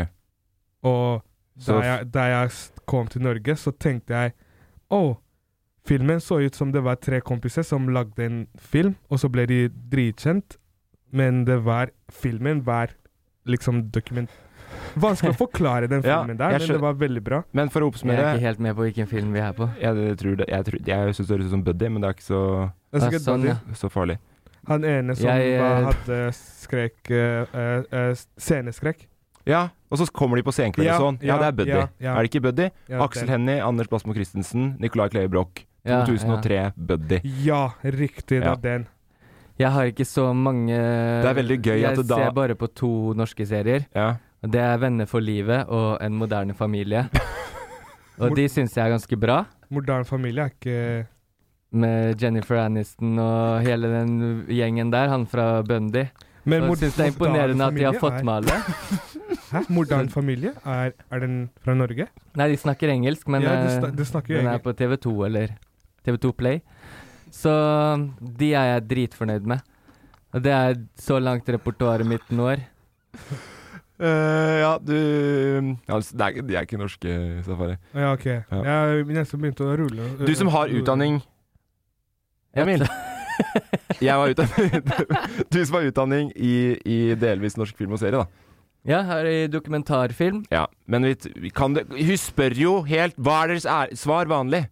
S2: Og
S1: Så
S2: da
S1: f-
S2: jeg, da jeg s- kom til Norge, så tenkte jeg Å, filmen så ut som det var tre kompiser som lagde en film, og så ble de dritkjent, men det var Filmen var liksom dokument... Vanskelig å forklare den
S1: (laughs) Ja,
S2: filmen der,
S1: jeg
S2: men
S1: skjøn-
S2: det var veldig bra.
S1: Men for å
S3: Jeg er
S1: oppsummere
S3: ikke helt med på hvilken film vi er på.
S1: Jeg, tror det, jeg, tror, jeg synes det høres ut som Buddy, men det er ikke så,
S2: Det er
S3: Ah,
S2: sikkert
S3: sånn,
S2: Buddy.
S3: ja.
S1: så farlig.
S2: Han ene som
S3: Jeg, eh,
S2: var- hadde skrek eh, eh, eh, Sceneskrekk.
S1: Ja, og så kommer de på senkveld
S2: Ja,
S1: og sånn. Ja,
S2: ja,
S1: det er Buddy.
S2: ja, ja.
S1: Er det ikke Buddy?
S2: Ja,
S1: Aksel
S2: det-
S1: Hennie, Anders Basmo Christensen, Nicolai Kleve Broch.
S3: Ja,
S1: 2003, Buddy.
S2: Ja, riktig.
S1: Ja.
S2: Det er den.
S3: Jeg har ikke så mange Det
S1: er veldig gøy at det da-
S3: Jeg ser bare på to norske serier.
S1: Ja.
S3: Og Det er 'Venner for livet' og 'En moderne
S2: (laughs)
S3: familie'. og de syns jeg er ganske bra,
S2: Moderne familie er ikke
S3: med Jennifer Aniston og hele den gjengen der, han fra Bundy.
S2: Men
S3: Jeg
S2: mod-
S3: syns det er imponerende at de har
S2: familie
S3: fått
S2: er-
S3: med alle.
S2: (laughs) Hæ? Moderne familie? Er, er den fra Norge?
S3: Nei, de snakker engelsk, men
S2: Ja, de
S3: eh,
S2: snak- de snakker jo
S3: den er
S2: engel-
S3: på TV2 eller TV2 Play. Så de er jeg dritfornøyd med. Og det er så langt repertoaret mitt når.
S1: Eh, ja, du ja, altså, det er, De er ikke norske, Safari.
S2: Ja, OK. Jeg nesten begynte å rulle.
S1: Du som har utdanning, Emil. Jeg var utdanning (laughs) Du som har utdanning i, i delvis norsk film og serie, da.
S3: Ja, her i dokumentarfilm.
S1: Ja, men vi, t- vi kan det Hun spør jo helt Hva er deres ære? Svar vanlig.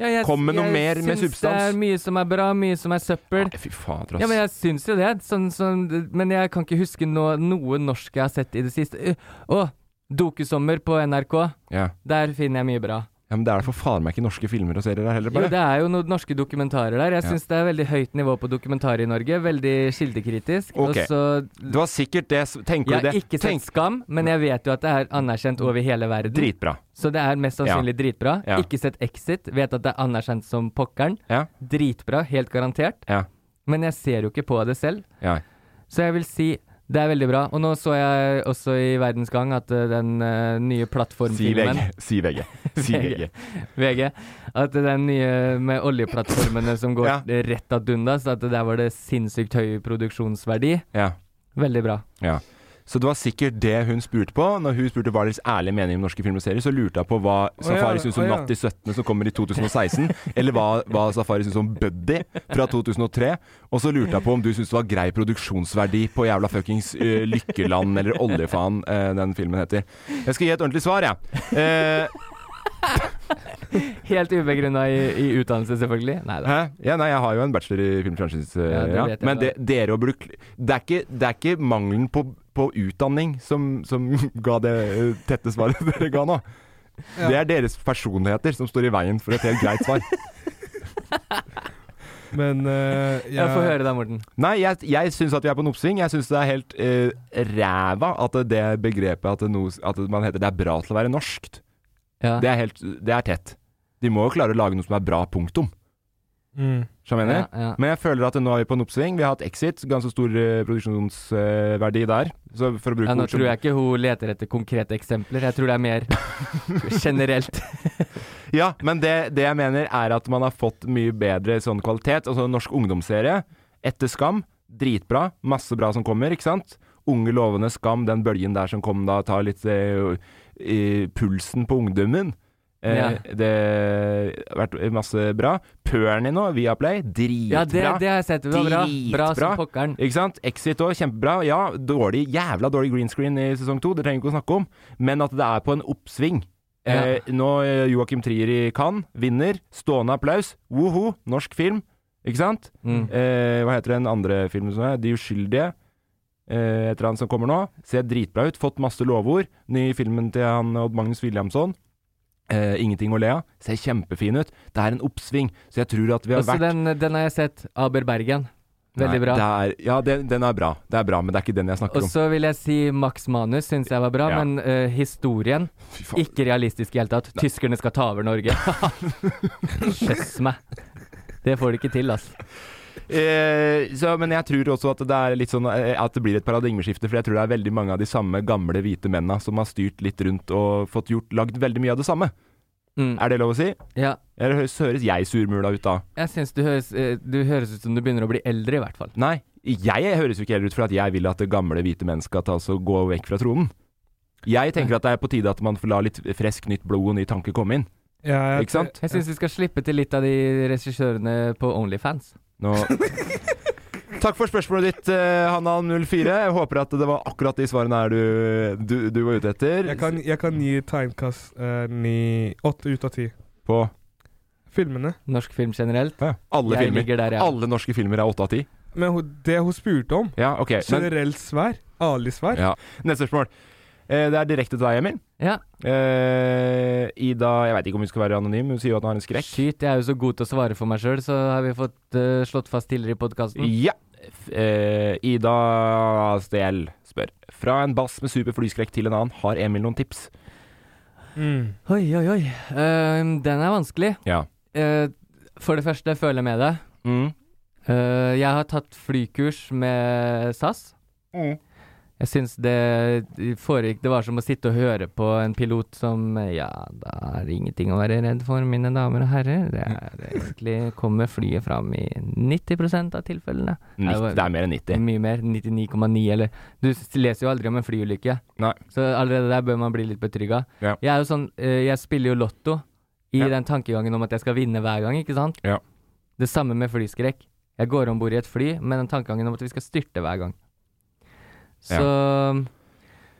S3: Ja, jeg,
S1: Kom med noe mer med
S3: syns Det
S1: substans.
S3: er mye som er bra, mye som er søppel.
S1: Nei, fy faen, ass.
S3: Ja, men jeg syns jo det. Sånn, sånn, men jeg kan ikke huske noe, noe norsk jeg har sett i det siste. Eh, Å, Dokusommer på NRK.
S1: ja.
S3: Der finner jeg mye bra.
S1: ja, men det er for faen meg ikke norske filmer og serier der heller,
S3: Jo,
S1: bare.
S3: det er jo noen norske dokumentarer der. Jeg
S1: Ja.
S3: syns det er veldig høyt nivå på dokumentarer i Norge. Veldig kildekritisk.
S1: Ok.
S3: Og så
S1: Det var sikkert det s- Tenker
S3: Jeg
S1: du det?
S3: har ikke sett
S1: Tenk,
S3: Skam, men jeg vet jo at det er anerkjent over hele verden.
S1: dritbra.
S3: Så det er mest sannsynlig dritbra.
S1: Ja.
S3: Ikke sett Exit, vet at det er anerkjent som pokkeren.
S1: Ja.
S3: Dritbra, helt garantert.
S1: Ja.
S3: Men jeg ser jo ikke på det selv.
S1: Ja.
S3: Så jeg vil si det er veldig bra. Og nå så jeg også i Verdens Gang at eh, den eh, nye
S1: Si
S3: plattformfilmen
S1: VG. Si VG. Si VG.
S3: (laughs) VG, at den nye med oljeplattformene som går
S1: Ja.
S3: rett ad undas, at der var det sinnssykt høy produksjonsverdi.
S1: Ja.
S3: Veldig bra.
S1: ja. Så det var sikkert det hun spurte på. Når hun spurte hva deres ærlige mening om norske filmer og serier, så lurte hun på hva Safari
S2: ja,
S1: syns
S2: å,
S1: om
S2: ja.
S1: Natt til 17. som kommer i
S2: (laughs)
S1: 2016, eller hva, hva Safari syns om Buddy fra 2003. Og så lurte hun på om du syns det var grei produksjonsverdi på jævla fuckings eh, Lykkeland eller Oljefaen, eh, den filmen heter. Jeg skal gi et ordentlig svar, jeg. Eh,
S3: Helt ubegrunna i, i utdannelse, selvfølgelig. Nei da.
S1: Hæ? Ja, nei, jeg har jo en bachelor i filmfranchise. eh,
S3: Ja, det
S1: ja.
S3: vet jeg
S1: Men
S3: da.
S1: det, dere og bruk, det, er ikke, det er ikke mangelen på, på utdanning som, som (laughs) ga det eh, tette svaret (laughs) dere ga nå. Det er deres personligheter som står i veien for et helt greit svar.
S2: Men eh, jeg,
S3: (laughs) Jeg får høre da, Morten.
S1: Nei, jeg, jeg syns at vi er på en oppsving. Jeg syns det er helt eh, ræva at det begrepet at, det noe, at man heter det er bra til å være norskt,
S3: Ja.
S1: det er, helt, det er tett. De må jo klare å lage noe som er bra, punktum.
S2: Mm.
S1: Skjønner du? hva jeg mener?
S3: Ja, ja.
S1: Men jeg føler at nå er vi på en oppsving. Vi har hatt Exit, ganske stor eh, produksjonsverdi der. Så for å bruke
S3: Ja, nå
S1: ord som-
S3: tror jeg ikke hun leter etter konkrete eksempler, jeg tror det er
S1: (laughs)
S3: mer generelt.
S1: Ja, men det, det jeg mener er at man har fått mye bedre sånn kvalitet. Altså norsk ungdomsserie, etter Skam, dritbra. Masse bra som kommer, ikke sant? Unge lovende Skam, den bølgen der som kom da, tar litt eh, i pulsen på ungdommen. Eh,
S3: Ja.
S1: Det har vært masse bra. Pørni nå, Viaplay, dritbra.
S3: Ja, det, det har jeg sett. Det var bra. Bra som
S1: Dritbra.
S3: pokkeren.
S1: Ikke sant? Exit òg, kjempebra. Ja, dårlig, jævla dårlig green screen i sesong to, det trenger vi ikke å snakke om. Men at det er på en oppsving.
S3: Ja.
S1: Eh, nå eh, Joakim Trier i Cannes vinner. Stående applaus. Woho! Norsk film. Ikke sant?
S3: Mm.
S1: Eh, hva heter den andre filmen som er? De uskyldige. Eh, heter han som kommer nå. Ser dritbra ut. Fått masse lovord. Ny filmen til han Odd Magnus Williamson. Eh, Ingenting å le av. Ser kjempefin ut. Det er en oppsving, så jeg tror at vi har
S3: Også
S1: vært
S3: den, den har jeg sett. Aber Bergen. Veldig
S1: Nei,
S3: bra.
S1: Det er, ja, den, den er bra. Det er bra, men det er ikke den jeg snakker
S3: Og så vil jeg si Max Manus syns jeg var bra,
S1: Ja.
S3: men eh, historien
S1: om. Fy faen.
S3: ikke realistisk i hele tatt. Tyskerne skal ta over
S1: (laughs)
S3: Norge. Kjøss meg. Det får de ikke til, altså.
S1: Eh, så, men jeg tror også at det, er litt sånn, eh, at det blir et paradigmeskifte, for jeg tror det er veldig mange av de samme gamle hvite mennene som har styrt litt rundt og fått gjort, lagd veldig mye av det samme. Er det lov å si?
S3: Mm. Ja.
S1: Eller høres, høres jeg surmula ut da?
S3: Jeg syns du høres eh, Du høres ut som du begynner å bli eldre, i hvert fall.
S1: Nei, jeg høres jo ikke heller ut fordi at jeg vil at det gamle hvite menn skal ta oss og gå vekk fra tronen. Jeg tenker at det er på tide at man får la litt fresk nytt blod og ny tanke komme inn.
S2: Ja, jeg-
S1: Ikke sant?
S3: Jeg syns vi skal slippe til litt av de regissørene på Onlyfans.
S1: Nå... Takk for spørsmålet ditt, eh, Hanan04. Jeg håper at det var akkurat de svarene her du, du, du var ute etter.
S2: Jeg kan, jeg kan gi Timecast eh, ni- åtte ut av ti.
S1: På
S2: Filmene.
S3: Norsk film generelt.
S1: alle
S3: jeg
S1: filmer.
S3: ligger der, jeg.
S1: Alle norske filmer er åtte av ti.
S2: Men hun- det hun spurte om,
S1: Ja, ok. Men,
S2: generelt svær. Ali-svær.
S1: ja. Neste spørsmål. Eh, det er direkte til deg, Emil.
S3: Ja.
S1: Eh, Ida Jeg veit ikke om hun skal være anonym, hun sier jo at hun har en skrekk.
S3: Skyt. Jeg er jo så god til å svare for meg sjøl, så har vi fått eh, slått fast tidligere i podkasten.
S1: Ja. F- eh, Ida Steel spør Fra en bass med superflyskrekk til en annen, har Emil noen tips?
S2: Mm.
S3: Oi, oi, oi. Ehm, den er vanskelig.
S1: Ja.
S3: Eh, for det første, føler jeg med deg. Eh, jeg har tatt flykurs med SAS. Jeg syns det foregikk Det var som å sitte og høre på en pilot som eh, Ja, da er det ingenting å være redd for, mine damer og herrer. Det er egentlig Kommer flyet fram i 90 av tilfellene.
S1: Nitt-
S3: var-
S1: det er mer enn 90.
S3: Mye mer. 99,9 eller Du s- leser jo aldri om en flyulykke.
S1: Nei.
S3: Så allerede der bør man bli litt betrygga.
S1: Ja.
S3: Jeg er jo sånn eh, Jeg spiller jo lotto i
S1: Ja.
S3: den tankegangen om at jeg skal vinne hver gang, ikke sant?
S1: Ja.
S3: Det samme med flyskrekk. Jeg går om bord i et fly med den tankegangen om at vi skal styrte hver gang. Så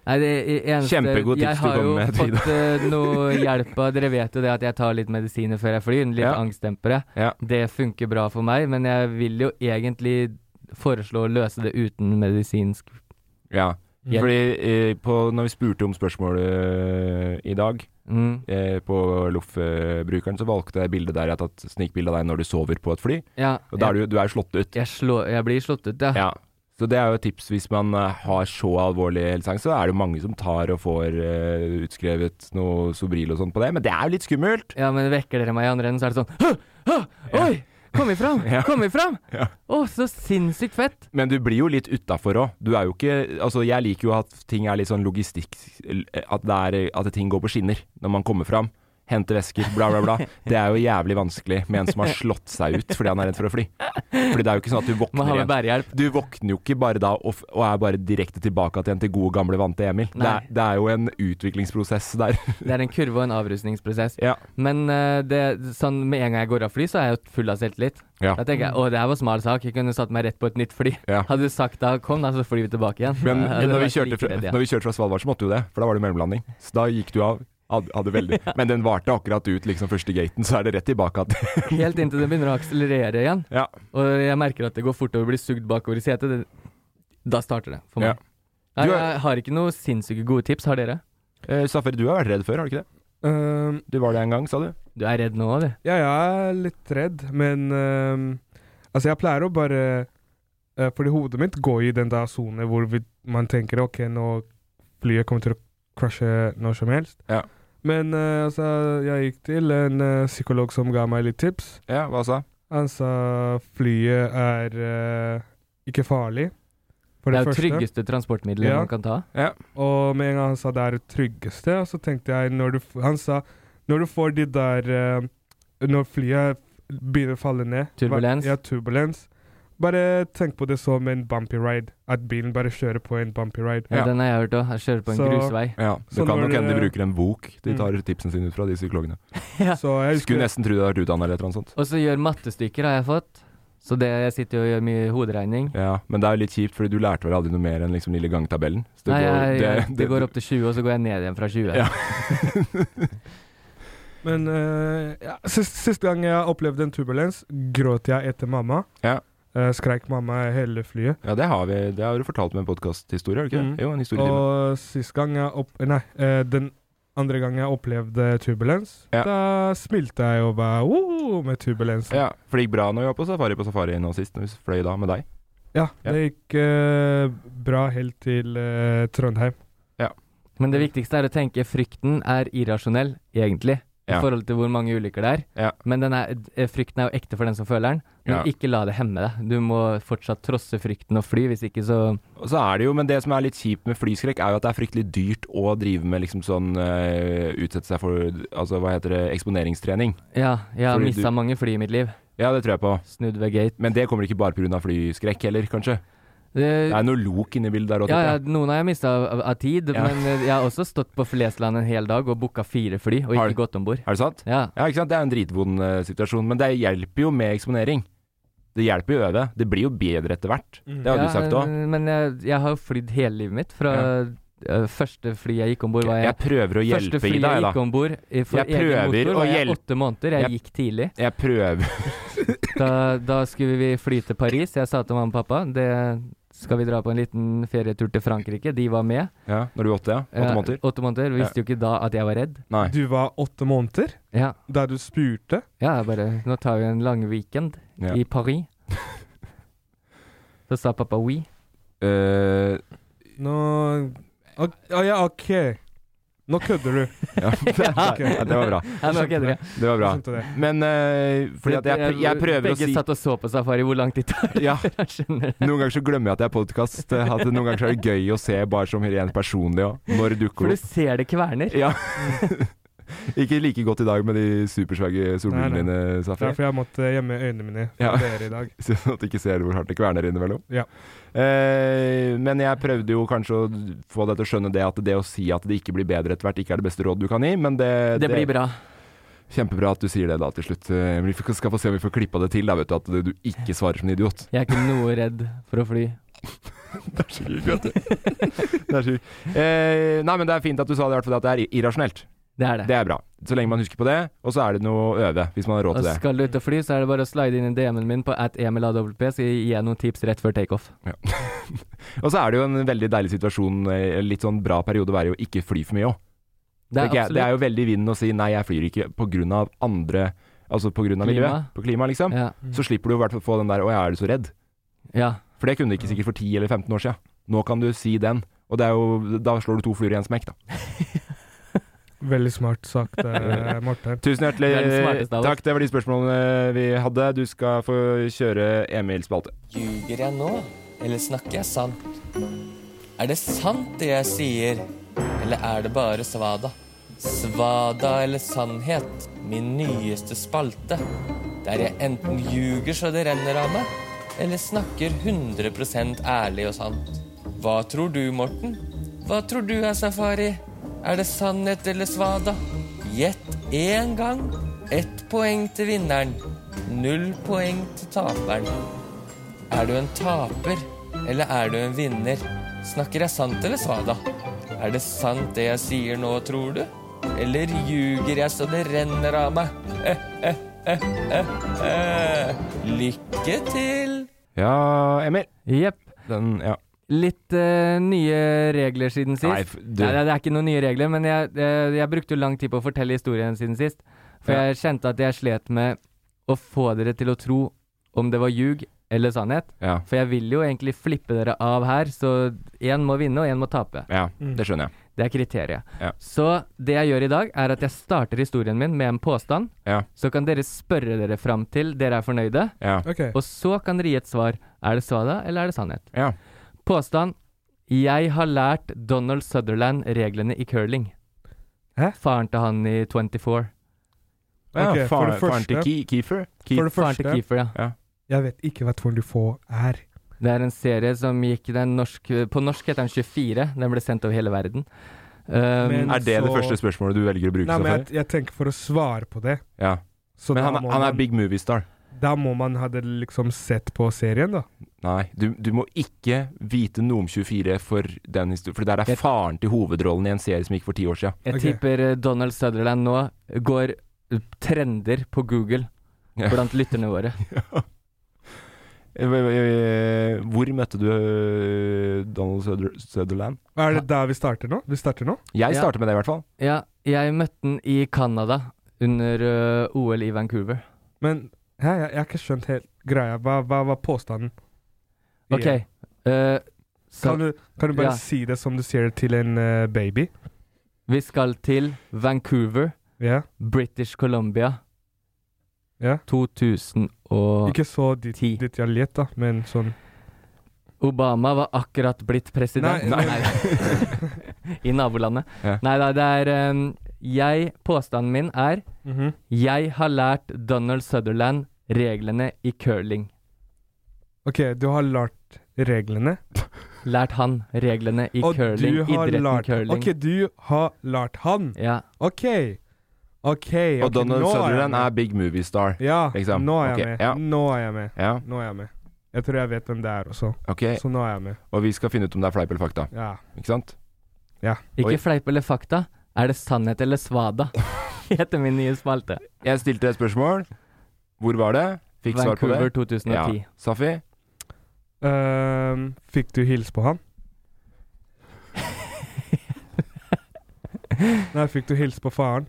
S3: Nei, det eneste
S1: Kjempegod tips
S3: Jeg
S1: du
S3: har jo
S1: kommer med, Ida.
S3: fått eh, noe hjelp av Dere vet jo det at jeg tar litt medisiner før jeg flyr. Litt
S1: Ja.
S3: angstdempere.
S1: Ja.
S3: Det funker bra for meg, men jeg vil jo egentlig foreslå å løse det uten medisinsk
S1: Ja.
S3: Mm. Ja.
S1: Fordi eh, på, når vi spurte om spørsmålet eh, i dag
S3: mm.
S1: eh, på Loff-brukeren, så valgte jeg bildet der jeg har tatt snikbilde av deg når du sover på et fly.
S3: Ja.
S1: Og da er du, du er jo slått ut.
S3: jeg, jeg, slår, jeg blir slått ut, ja.
S1: Ja. Så det er jo et tips hvis man eh, har så alvorlig helseangst. Så er det jo mange som tar og får eh, utskrevet noe Sobril og sånn på det, men det er jo litt skummelt.
S3: Ja, men vekker dere meg i andre enden, så er det sånn Hå! Hå! Oi! Kom ifram!
S1: (laughs) Ja.
S3: Kom ifram!
S1: Ja.
S3: Å, så sinnssykt fett!
S1: Men du blir jo litt utafor òg. Du er jo ikke Altså, jeg liker jo at ting er litt sånn logistikk At, det er, at ting går på skinner når man kommer fram. Hente vesker, bla, bla, bla. Det er jo jævlig vanskelig med en som har slått seg ut fordi han er redd for å fly. Fordi det er jo ikke sånn at du
S3: Må ha
S1: våkner
S3: med
S1: igjen.
S3: bærehjelp.
S1: Du våkner jo ikke bare da og, f- og er bare direkte tilbake igjen til gode, gamle, vante Emil. Det
S3: Nei.
S1: er, det er jo en utviklingsprosess der.
S3: Det er en kurve og en avrusningsprosess.
S1: Ja.
S3: Men eh, det, sånn, med en gang jeg går av fly, så er jeg jo full av selvtillit.
S1: Ja.
S3: Da tenker jeg å, det her var smal sak, jeg kunne satt meg rett på et nytt fly.
S1: Ja.
S3: Hadde du sagt da kom, da, så flyr vi tilbake igjen.
S1: Men,
S3: Jeg hadde
S1: men når, vi
S3: vært
S1: kjørte
S3: like
S1: fra,
S3: redd, ja.
S1: når vi kjørte fra Svalbard, så måtte jo det, for da var det mellomlanding. Så da gikk du av. Hadde, hadde (laughs) veldig. Men den varte akkurat ut liksom første gaten, så er det rett (laughs) tilbake igjen.
S3: Helt inntil det begynner å akselerere igjen,
S1: Ja.
S3: og jeg merker at det går fortere og blir sugd bakover i setet, det, da starter det for
S1: Ja.
S3: meg. Nei,
S1: Du er-
S3: jeg har ikke noe sinnssyke gode tips, har dere?
S1: Eh, Safari, du har vært redd før, har du ikke det?
S2: Ehm,
S1: Du var det en gang, sa du?
S3: Du er redd nå, du.
S2: ja, jeg er litt redd, men ehm, Altså, jeg pleier å bare eh, Fordi hodet mitt går i den der sonen hvor vi, man tenker OK, nå flyet kommer til å crashe når som helst.
S1: Ja.
S2: Men eh, altså, jeg gikk til en eh, psykolog som ga meg litt tips.
S1: Ja, hva sa?
S2: Han sa flyet er eh, ikke farlig, for
S3: Det
S2: det,
S3: er jo
S2: første.
S3: tryggeste transportmiddelet
S2: Ja.
S3: man kan ta.
S2: Og med en gang han sa det er det tryggeste, og så tenkte jeg når du, f- Han sa når du får de der eh, Når flyet begynner å falle ned
S3: Turbulens.
S2: Ba, ja, turbulens. Bare tenk på det som en bumpy ride. At bilen bare kjører på en bumpy ride.
S3: Ja.
S1: Ja.
S3: Den har jeg hørt òg. Jeg kjører på en
S2: Så-
S3: grusvei.
S2: (laughs)
S1: Ja, det
S2: Så
S1: kan
S2: når
S1: nok hende de
S2: dere-
S1: bruker en bok. De tar tipsene sine ut fra de psykologene.
S3: Ja.
S2: Så jeg
S1: Skulle
S2: husker
S1: nesten tro du hadde vært utdannet eller et eller annet sånt.
S3: (laughs) Og så gjør mattestykker, har jeg fått. Så det, jeg sitter jo og gjør mye hoderegning.
S1: Ja, men det er jo litt kjipt, fordi du lærte vel aldri noe mer enn liksom lille gangtabellen. Så
S3: Nei, jeg, jeg,
S1: det-
S3: det, går opp til 20, og så går jeg ned igjen fra 20.
S1: Ja.
S2: Men eh, ja, sist, sist gang jeg opplevde en turbulens, gråt jeg etter mamma.
S1: Ja.
S2: Eh, skreik mamma hele flyet.
S1: Ja, det har, vi, det har du fortalt med en podkasthistorie, har du ikke det?
S2: Mm.
S1: Jo, en historietime.
S2: Og sist gang jeg opp... Nei, eh, den andre gang jeg opplevde turbulens,
S1: Ja.
S2: da smilte jeg og bare Woo! med turbulens.
S1: Ja, for det gikk bra når vi var på safari på safari nå sist, når vi fløy da med deg.
S2: Ja,
S1: Ja.
S2: det gikk eh, bra helt til eh, Trondheim.
S3: Men det viktigste er å tenke frykten er irrasjonell, egentlig.
S1: Ja.
S3: i forhold til hvor mange ulykker det er.
S1: Ja.
S3: Men den er, eh, frykten er jo ekte for den som føler den. Men
S1: Ja.
S3: ikke la det hemme deg. Du må fortsatt trosse frykten og fly, hvis ikke så
S1: Og så er det jo, men det som er litt kjipt med flyskrekk, er jo at det er fryktelig dyrt å drive med liksom sånn eh, Utsette seg for altså, hva heter det, eksponeringstrening.
S3: Ja, jeg har
S1: Fordi
S3: mista
S1: du-
S3: mange fly i mitt liv.
S1: Ja, det tror jeg på.
S3: Snudd ved gate.
S1: Men det kommer ikke bare pga. flyskrekk heller, kanskje?
S3: Det,
S1: Det er noe lok inni bildet der òg,
S3: ja,
S1: tipper
S3: ja,
S1: jeg.
S3: noen har jeg mista av, av- av tid,
S1: Ja.
S3: men eh, jeg har også stått på Flesland en hel dag og booka fire fly, og ikke
S1: Har du-
S3: gått om bord.
S1: Er det sant?
S3: Ja.
S1: Ja, ikke sant? Det er en dritvond eh, situasjon, men det hjelper jo med eksponering. Det hjelper jo å øve. Det blir jo bedre etter hvert. Det
S3: Mm.
S1: har
S3: ja,
S1: du sagt òg.
S3: eh, Men jeg, jeg har jo flydd hele livet mitt. Fra eh, første fly jeg gikk om bord, var
S1: Jeg
S3: jeg
S1: prøver å
S3: Første
S1: hjelpe
S3: fly
S1: Ida,
S3: jeg
S1: jeg,
S3: gikk
S1: da.
S3: om bord eh, for
S1: Jeg
S3: egen
S1: prøver
S3: motor,
S1: å
S3: var jeg
S1: hjelpe-
S3: åtte måneder. Jeg
S1: Jeg-
S3: gikk tidlig.
S1: Jeg prøver
S3: Da, da skulle vi fly til Paris. Jeg sa til mamma og pappa det skal vi dra på en liten ferietur til Frankrike. De var med.
S1: ja, Når du er åtte, ja? Åtte
S3: Eh,
S1: måneder?
S3: Åtte måneder. Visste jo ikke da at jeg var redd.
S1: Nei.
S2: Du var åtte måneder
S3: Ja,
S2: der du spurte.
S3: ja jeg bare Nå tar vi en lang weekend
S1: Ja.
S3: i Paris. Så sa pappa oui.
S1: Eh,
S2: Nå Å å ja, OK. Nå kødder du.
S3: (laughs)
S1: ja. ja, det var bra.
S3: Ja, nå kødder jeg.
S1: Det var (laughs) bra.
S2: Jeg skjønte det.
S1: Men eh, fordi at jeg, jeg prøver å
S3: Begge
S1: si
S3: satt og så på safari hvor lang tid tar det.
S1: (laughs)
S3: (laughs)
S1: ja,
S3: Jeg skjønner det.
S1: Noen ganger så glemmer jeg at det er podkast. Noen ganger så er det gøy å se bare som rent personlig òg. Når
S3: For
S1: dukker
S3: du
S1: det opp.
S3: ser det kverner.
S1: Ja. (laughs) Ikke like godt i dag med de supersvære
S2: Nei,
S1: solbrillene
S2: nei.
S1: dine,
S2: Det er
S1: (laughs) Safri.
S2: derfor jeg måtte gjemme øynene mine for
S1: Ja.
S2: dere i dag.
S1: Sånn at du ikke ser hvor hardt det kverner innimellom.
S2: Ja.
S1: Eh, men jeg prøvde jo kanskje å få deg til å skjønne det at det å si at det ikke blir bedre etter hvert, ikke er det beste rådet du kan gi, men det,
S3: Det blir bra.
S1: Kjempebra at du sier det da til slutt. Eh, Vi får- skal få se om vi får klippa det til, da, vet du, at du ikke svarer som en idiot.
S3: (laughs) Jeg er ikke noe redd for å fly.
S1: Det er så sjukt, vet du. (laughs) det er sjukt. Eh, nei, men det er fint at du sa det, i hvert fall at det er irrasjonelt.
S3: Det er det.
S1: Det er bra. Så lenge man husker på det, og så er det noe å øve, hvis man har råd
S3: Og
S1: til det.
S3: skal du ut og fly, så er det bare å slide inn i DM-en min på at emiladwp, så gir jeg noen tips rett før takeoff.
S1: (laughs) Og så er det jo en veldig deilig situasjon, eh, litt sånn bra periode å være i, å ikke fly for mye òg.
S3: Det er
S1: det er
S3: absolutt
S1: jo veldig i vinden å si nei, jeg flyr ikke på grunn av andre Altså på grunn av
S3: Klima.
S1: miljøet, på klima liksom.
S3: ja.
S1: Så slipper du i hvert fall å få den der 'å, jeg er du så redd'.
S3: ja.
S1: For det kunne du ikke sikkert for 10 eller 15 år siden. Nå kan du si den, og det er jo, da slår du to fluer i en smekk, da.
S2: Veldig smart sagt,
S1: (laughs)
S2: eh, Morten.
S1: Tusen hjertelig
S3: Det er den smarteste av oss.
S1: takk. Det var de spørsmålene vi hadde. Du skal få kjøre Emil Spalte.
S7: Ljuger jeg nå, eller snakker jeg sant? Er det sant det jeg sier, eller er det bare svada? Svada eller sannhet, min nyeste spalte, der jeg enten ljuger så det renner av meg, eller snakker 100 ærlig og sant. Hva tror du, Morten? Hva tror du er safari? Er det sannhet eller svada? Gjett én gang. Ett poeng til vinneren. Null poeng til taperen. Er du en taper, eller er du en vinner? Snakker jeg sant eller svada? Er det sant det jeg sier nå, tror du? Eller ljuger jeg så det renner av meg? Eh, eh, eh, eh, eh. Lykke til!
S1: Ja, Emil.
S3: Jepp.
S1: Den, ja.
S3: Litt eh, nye regler siden sist.
S1: Nei, f- du-
S3: Nei, det er ikke noen nye regler, men jeg, eh, jeg brukte jo lang tid på å fortelle historien siden sist. For
S1: Ja.
S3: jeg kjente at jeg slet med å få dere til å tro om det var ljug eller sannhet.
S1: Ja.
S3: For jeg vil jo egentlig flippe dere av her, så én må vinne og én må tape.
S1: ja.
S2: Mm.
S1: Det skjønner jeg.
S3: Det er kriteriet.
S1: Ja.
S3: Så det jeg gjør i dag, er at jeg starter historien min med en påstand.
S1: Ja.
S3: Så kan dere spørre dere fram til dere er fornøyde,
S1: Ja.
S2: OK.
S3: og så kan dere gi et svar. Er det svada, eller er det sannhet?
S1: ja.
S3: Påstand. Jeg har lært Donald Sutherland reglene i curling.
S2: Hæ?
S3: Faren til han i 24.
S1: ja.
S2: Ok, for
S1: faren,
S2: det
S1: faren til
S2: første-
S1: Ke Keefer? Ke
S2: For det
S3: Faren til
S2: første,
S3: Keefer, ja.
S2: jeg vet ikke hva 24 er.
S3: Det er en serie som gikk den norsk, På norsk heter den 24. Den ble sendt over hele verden. Um,
S2: Men-
S1: er det det
S2: Så-
S1: første spørsmålet du velger å bruke?
S2: Nei, men jeg,
S1: Safari?
S2: jeg tenker for å svare på det.
S1: Ja.
S2: Så
S1: Men
S2: da,
S1: han,
S2: må
S1: han er
S2: man,
S1: big movie star.
S2: da må man ha det liksom sett på serien, da.
S1: Nei, du, du må ikke vite noe om 24 for den historien, for der er
S3: Jeg-
S1: faren til hovedrollen i en serie som gikk for ti år siden.
S3: jeg
S2: ok.
S3: tipper eh, Donald Sutherland nå går eh, trender på Google
S1: Ja.
S3: blant lytterne våre.
S1: (laughs) Eh, eh, eh, Hvor møtte du eh, Donald Suther- Sutherland?
S2: Er det der vi starter nå? Vi starter nå?
S1: Jeg
S3: Ja.
S1: starter med det, i hvert fall.
S3: Ja, jeg møtte den i Canada under eh, OL i Vancouver.
S2: Men hæ, jeg, jeg har ikke skjønt helt greia. Hva, hva var påstanden?
S3: OK.
S2: Igjen.
S3: eh, så
S2: Kan du, kan du bare
S3: Ja.
S2: si det som du sier det til en eh, baby?
S3: vi skal til Vancouver
S2: Ja.
S3: British Columbia.
S2: Ja.
S3: 2010.
S2: Ikke så dit, detaljert, da, men sånn
S3: Obama var akkurat blitt president.
S2: Nei, nei.
S3: (laughs) I nabolandet.
S2: Ja.
S3: Nei da, det er em, jeg, Påstanden min er
S2: Mhm.
S3: Jeg har lært Donald Sutherland reglene i curling.
S2: OK, du har lært reglene.
S3: Lært han reglene i
S2: og
S3: curling.
S2: du har
S3: Idretten
S2: lært
S3: curling.
S2: OK, du har lært han.
S3: Ja.
S2: OK. OK.
S1: Og Donald Sutherland er big movie star.
S2: Ja,
S1: liksom.
S2: nå er jeg
S1: Ok,
S2: med.
S1: ja.
S2: Nå er jeg med.
S1: Ja.
S2: Nå er jeg med. Jeg tror jeg vet hvem det er også.
S1: Ok.
S2: Så nå er jeg med.
S1: Og vi skal finne ut om det er fleip eller fakta.
S2: Ja.
S1: Ikke sant?
S2: Ja.
S3: Ikke fleip eller fakta. Er det sannhet eller svada? (laughs) Heter min nye spalte.
S1: Jeg stilte et spørsmål. Hvor var det? Fikk svar på det.
S3: Vancouver 2010.
S1: Ja. Safi?
S2: Ehm, fikk du hilse
S1: (laughs)
S2: på han? Nei, fikk du hilse på faren?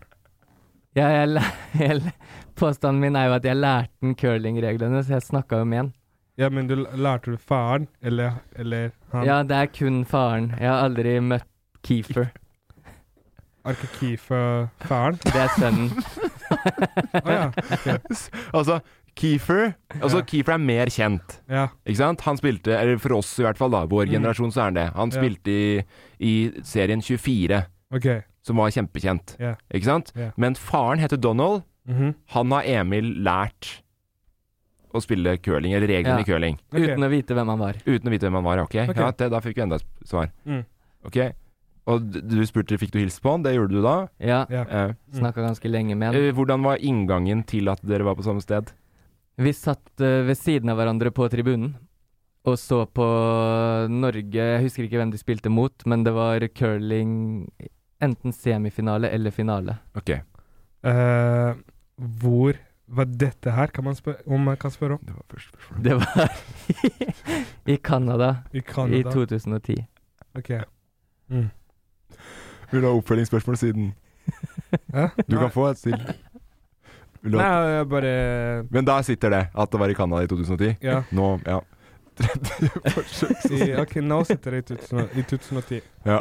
S3: Ja, jeg, læ- (laughs) jeg, læ- påstanden min er jo at jeg lærte den curlingreglene, så jeg snakka jo med han.
S2: Ja, men du l- lærte du faren, eller, eller han?
S3: Ja, det er kun faren. Jeg har aldri møtt Keefer.
S2: Arkeki for faren?
S3: Det er sønnen.
S2: (laughs) Å ja. ok.
S1: Altså, Keefer Altså,
S2: Ja.
S1: Keefer er mer kjent.
S2: ja.
S1: Ikke sant? Han spilte, eller for oss i hvert fall, da, vår generasjon, så er han det. Han
S2: Ja.
S1: spilte i, i serien 24,
S2: OK.
S1: som var kjempekjent.
S2: Ja.
S1: Ikke sant?
S2: Ja.
S1: Men faren heter Donald.
S2: Mhm.
S1: Han har Emil lært å spille curling, eller reglene
S3: Ja.
S1: i curling.
S3: (laughs)
S2: Ok.
S3: Uten å vite hvem han var.
S1: Uten å vite hvem han var. Ok,
S2: Ok.
S1: Ja, det, da fikk vi enda et svar.
S2: Mm.
S1: Ok, Og d- du spurte fikk du hilse på han, det gjorde du da.
S3: Ja,
S2: Ja.
S1: Eh,
S3: snakka ganske lenge med han.
S1: eh, hvordan var inngangen til at dere var på samme sted?
S3: Vi satt eh, ved siden av hverandre på tribunen og så på Norge Jeg husker ikke hvem de spilte mot, men det var curling Enten semifinale eller finale.
S1: Ok,
S2: Eh, hvor var dette her, kan man spørre, om man kan spørre om?
S1: det var første (laughs) spørsmål.
S3: Det var (laughs) i Canada
S2: I
S3: i
S2: Canada?
S3: 2010.
S2: OK. Mm.
S1: Vil du ha oppfølgingsspørsmål siden?
S2: Hæ?
S1: Du kan få et til. Vil du
S2: (laughs) Nei,
S1: ha-
S2: jeg bare
S1: Men der sitter det, at det var i Canada i 2010.
S2: Ja.
S1: Nå,
S2: (laughs)
S1: ja.
S2: I, ok, nå sitter jeg i, 2000, i 2010.
S1: Ja.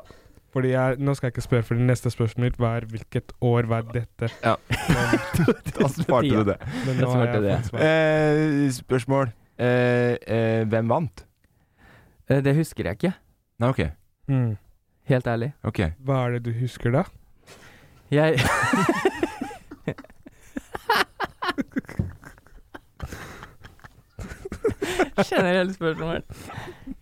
S2: Fordi jeg, Nå skal jeg ikke spørre, for det neste spørsmålet mitt var hvilket år var dette.
S1: Ja.
S2: Men,
S1: (laughs) Da svarte du det.
S2: men
S3: Jeg
S2: nå har
S3: svarte
S2: jeg
S3: det.
S2: fått svar.
S1: Eh, spørsmål. Eh, eh, hvem vant?
S3: Eh, Det husker jeg ikke,
S1: Nei, ok.
S2: Mm.
S3: helt ærlig.
S1: Ok.
S2: Hva er det du husker, da?
S3: Jeg (laughs) Generelle spørsmål.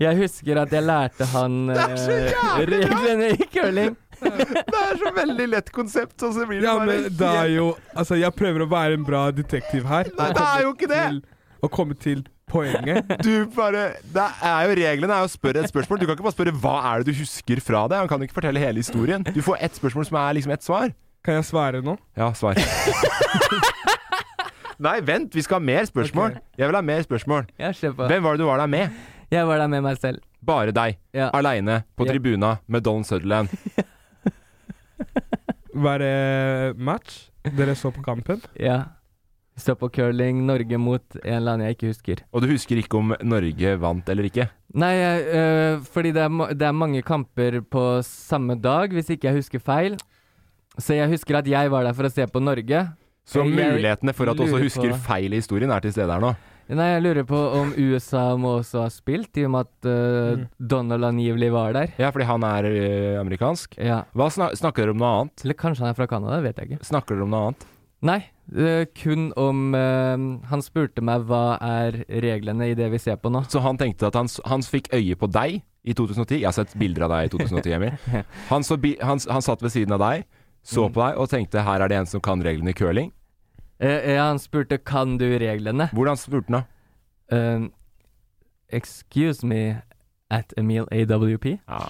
S3: Jeg husker at jeg lærte han eh, reglene i curling.
S1: (laughs) Det er så veldig lett konsept, sånn så det blir
S2: Ja, men det er jo Altså, jeg prøver å være en bra detektiv her.
S1: Nei, det er jo ikke det!
S2: Å komme til poenget.
S1: Du bare Det er jo reglene er å spørre et spørsmål. Du kan ikke bare spørre hva er det du husker fra det. Han kan jo ikke fortelle hele historien. Du får ett spørsmål som er liksom ett svar.
S2: Kan jeg svare nå?
S1: Ja, svar. (laughs) Nei, vent, vi skal ha mer spørsmål.
S2: Ok.
S1: Jeg vil ha mer spørsmål.
S3: Jeg, ser på.
S1: Hvem var det du var der med?
S3: jeg var der med meg selv.
S1: Bare deg.
S3: Ja.
S1: Aleine på
S3: Ja.
S1: tribuna med Don Sutherland.
S2: Var det match dere så på kampen?
S3: ja. Stå på curling Norge mot en eller annen jeg ikke husker.
S1: Og du husker ikke om Norge vant eller ikke?
S3: Nei, jeg, øh, fordi det er, ma- det er mange kamper på samme dag, hvis ikke jeg husker feil. Så jeg husker at jeg var der for å se på Norge.
S1: Så
S3: Jeg
S1: mulighetene for at du også
S3: lurer
S1: husker
S3: på-
S1: feil i historien, er til stede her nå.
S3: Nei, jeg lurer på om USA må også ha spilt, i og med at øh,
S2: Mm.
S3: Donald angivelig var der.
S1: Ja, fordi han er eh, amerikansk.
S3: Ja.
S1: Hva snak snakker dere om noe annet?
S3: Eller kanskje han er fra Canada, vet jeg ikke.
S1: Snakker dere om noe annet?
S3: Nei, øh, kun om øh, Han spurte meg hva er reglene i det vi ser på nå.
S1: Så han tenkte at han, s- han fikk øye på deg i 2010. Jeg har sett bilder av deg i 2010, (laughs) Emil. Han, så bi han, s- han satt ved siden av deg, så på deg og tenkte her er det en som kan reglene i curling.
S3: Eh, ja, han spurte 'kan du reglene'?
S1: Hvordan spurte han da?
S3: Um, excuse me at Emil
S1: (laughs)
S3: AWP?
S1: Ja.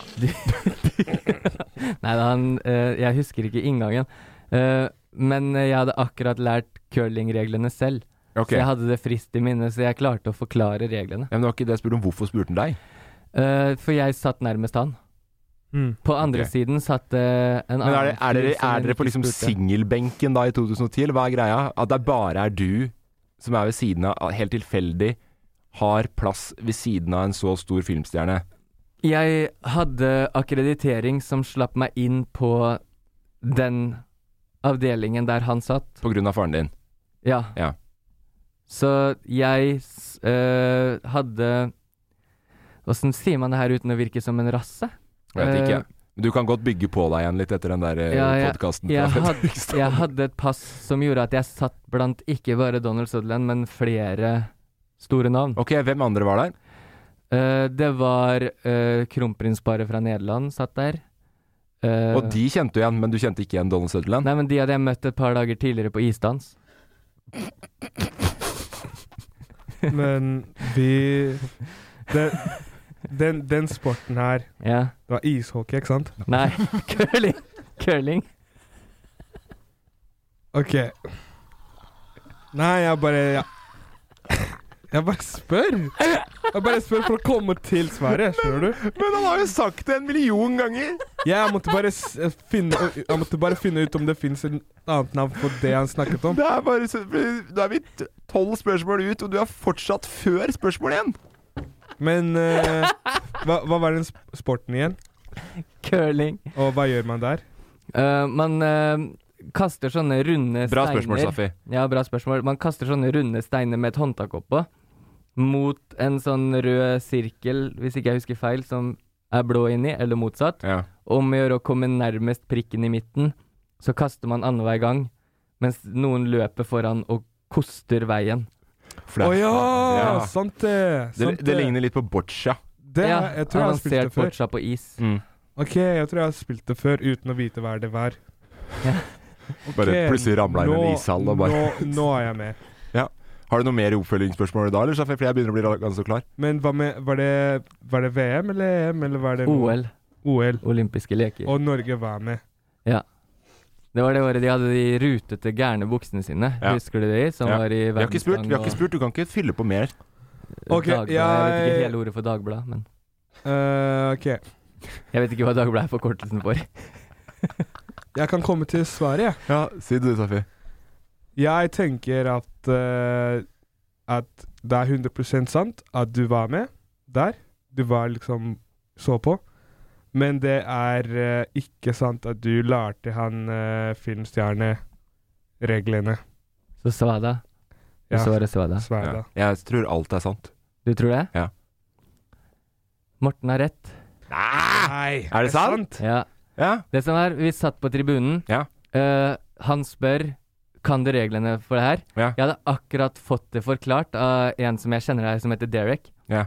S3: Nei da, han eh, Jeg husker ikke inngangen. Eh, men jeg hadde akkurat lært curlingreglene selv.
S1: Ok,
S3: Så jeg
S1: ja,
S3: hadde det friskt i minne, så jeg klarte å forklare reglene.
S1: men det var ikke det jeg spurte om. Hvorfor spurte han deg?
S3: Eh, for jeg satt nærmest han.
S2: Mm.
S3: På andre
S1: Ok.
S3: siden satt eh, en
S1: Men
S3: annen
S1: er, det, er, dere,
S3: fyr som
S1: er
S3: hun
S1: dere på
S3: ikke
S1: liksom
S3: spurte.
S1: singelbenken da i 2010, eller hva er greia? At det bare er du som er ved siden av, helt tilfeldig, har plass ved siden av en så stor filmstjerne?
S3: Jeg hadde akkreditering som slapp meg inn på den avdelingen der han satt.
S1: På grunn av faren din.
S3: Ja.
S1: Ja.
S3: Så jeg s- eh, hadde Åssen sier man det her uten å virke som en rasse?
S1: Jeg vet ikke.
S3: Eh,
S1: Men du kan godt bygge på deg igjen litt etter den der eh,
S3: ja, jeg-
S1: podkasten.
S3: Jeg,
S1: fra (laughs)
S3: hadde-
S1: Fredrikstad.
S3: jeg hadde et pass som gjorde at jeg satt blant ikke bare Donald Sutherland, men flere store navn.
S1: Ok, Hvem andre var der?
S3: det var eh, kronprinsparet fra Nederland satt der. Eh,
S1: Og de kjente du igjen, men du kjente ikke igjen Donald Sutherland?
S3: Nei, men de hadde jeg møtt et par dager tidligere på isdans.
S2: Men vi den, den, den sporten her
S3: Ja.
S2: Det var ishockey, ikke sant?
S3: Nei, (laughs) curling. Curling.
S2: OK. Nei, jeg bare Jeg, jeg bare spør. Jeg bare spør for å komme til svaret, skjønner du?
S1: Men han har jo sagt det en million ganger!
S2: Jeg måtte bare, s eh, finne, jeg måtte bare finne ut om det fins et annet navn på det han snakket om.
S1: Det er bare så- Da er vi t- tolv spørsmål ut, og du er fortsatt før spørsmål én!
S2: Men eh, hva, hva var den sp- sporten igjen?
S3: Curling.
S2: Og hva gjør man der?
S3: Eh, man eh, kaster sånne runde
S1: Bra
S3: steiner
S1: spørsmål, Safi.
S3: Ja, bra spørsmål. Man kaster sånne runde steiner med et håndtak oppå mot en sånn rød sirkel, hvis ikke jeg husker feil, som er blå inni, eller motsatt.
S1: Ja.
S3: Om å gjøre å komme nærmest prikken i midten, så kaster man annenhver gang, mens noen løper foran og koster veien.
S1: For
S2: Å
S1: det-
S2: ja,
S1: Ja.
S2: Sant det!
S1: Det,
S2: Sant
S1: det ligner litt på boccia. Mm.
S2: Det,
S3: ja,
S2: jeg tror jeg har spilt det
S3: avansert
S2: før.
S3: boccia på is.
S2: Ok, jeg tror jeg har spilt det før uten å vite hva er det var. (laughs) Ok,
S1: Bare plutselig ramla inn i en
S2: nå-
S1: ishall og bare
S2: nå, nå er jeg med.
S1: ja. Har du noe mer oppfølgingsspørsmål da, eller, Safi? For jeg begynner å bli ra- ganske klar.
S2: Men hva med, var, det, var det VM eller EM? Eller var det noe-
S3: OL,
S2: OL.
S3: olympiske leker.
S2: Og Norge var med.
S3: Det var det året de hadde de rutete, gærne buksene sine.
S1: Ja.
S3: Husker du de? Som
S1: Ja.
S3: var i
S1: Vi har ikke spurt, vi har ikke spurt. Du kan ikke fylle på mer.
S2: Ok,
S3: Dagbladet. Jeg vet ikke
S2: jeg-
S3: hele ordet for Dagbladet, men
S2: Eh, ok,
S3: jeg vet ikke hva Dagbladet er forkortelsen for.
S2: jeg kan komme til svaret, jeg.
S1: Ja, Si det du, Safi.
S2: Jeg tenker at, eh, at det er 100 sant at du var med der. Du var liksom så på. Men det er eh, ikke sant at du lærte han uh, filmstjernereglene.
S3: Så Svada. Du svarer Svada.
S2: Sverda.
S1: Ja. Jeg tror alt er sant.
S3: Du tror det?
S1: Ja.
S3: Morten har rett.
S2: Nei,
S1: Er det sant?
S3: Ja.
S1: Ja.
S3: Det som er, vi satt på tribunen.
S1: Ja.
S3: Eh, han spør kan du reglene for det her.
S1: Ja.
S3: Jeg hadde akkurat fått det forklart av en som jeg kjenner her, som heter Derek.
S1: Ja.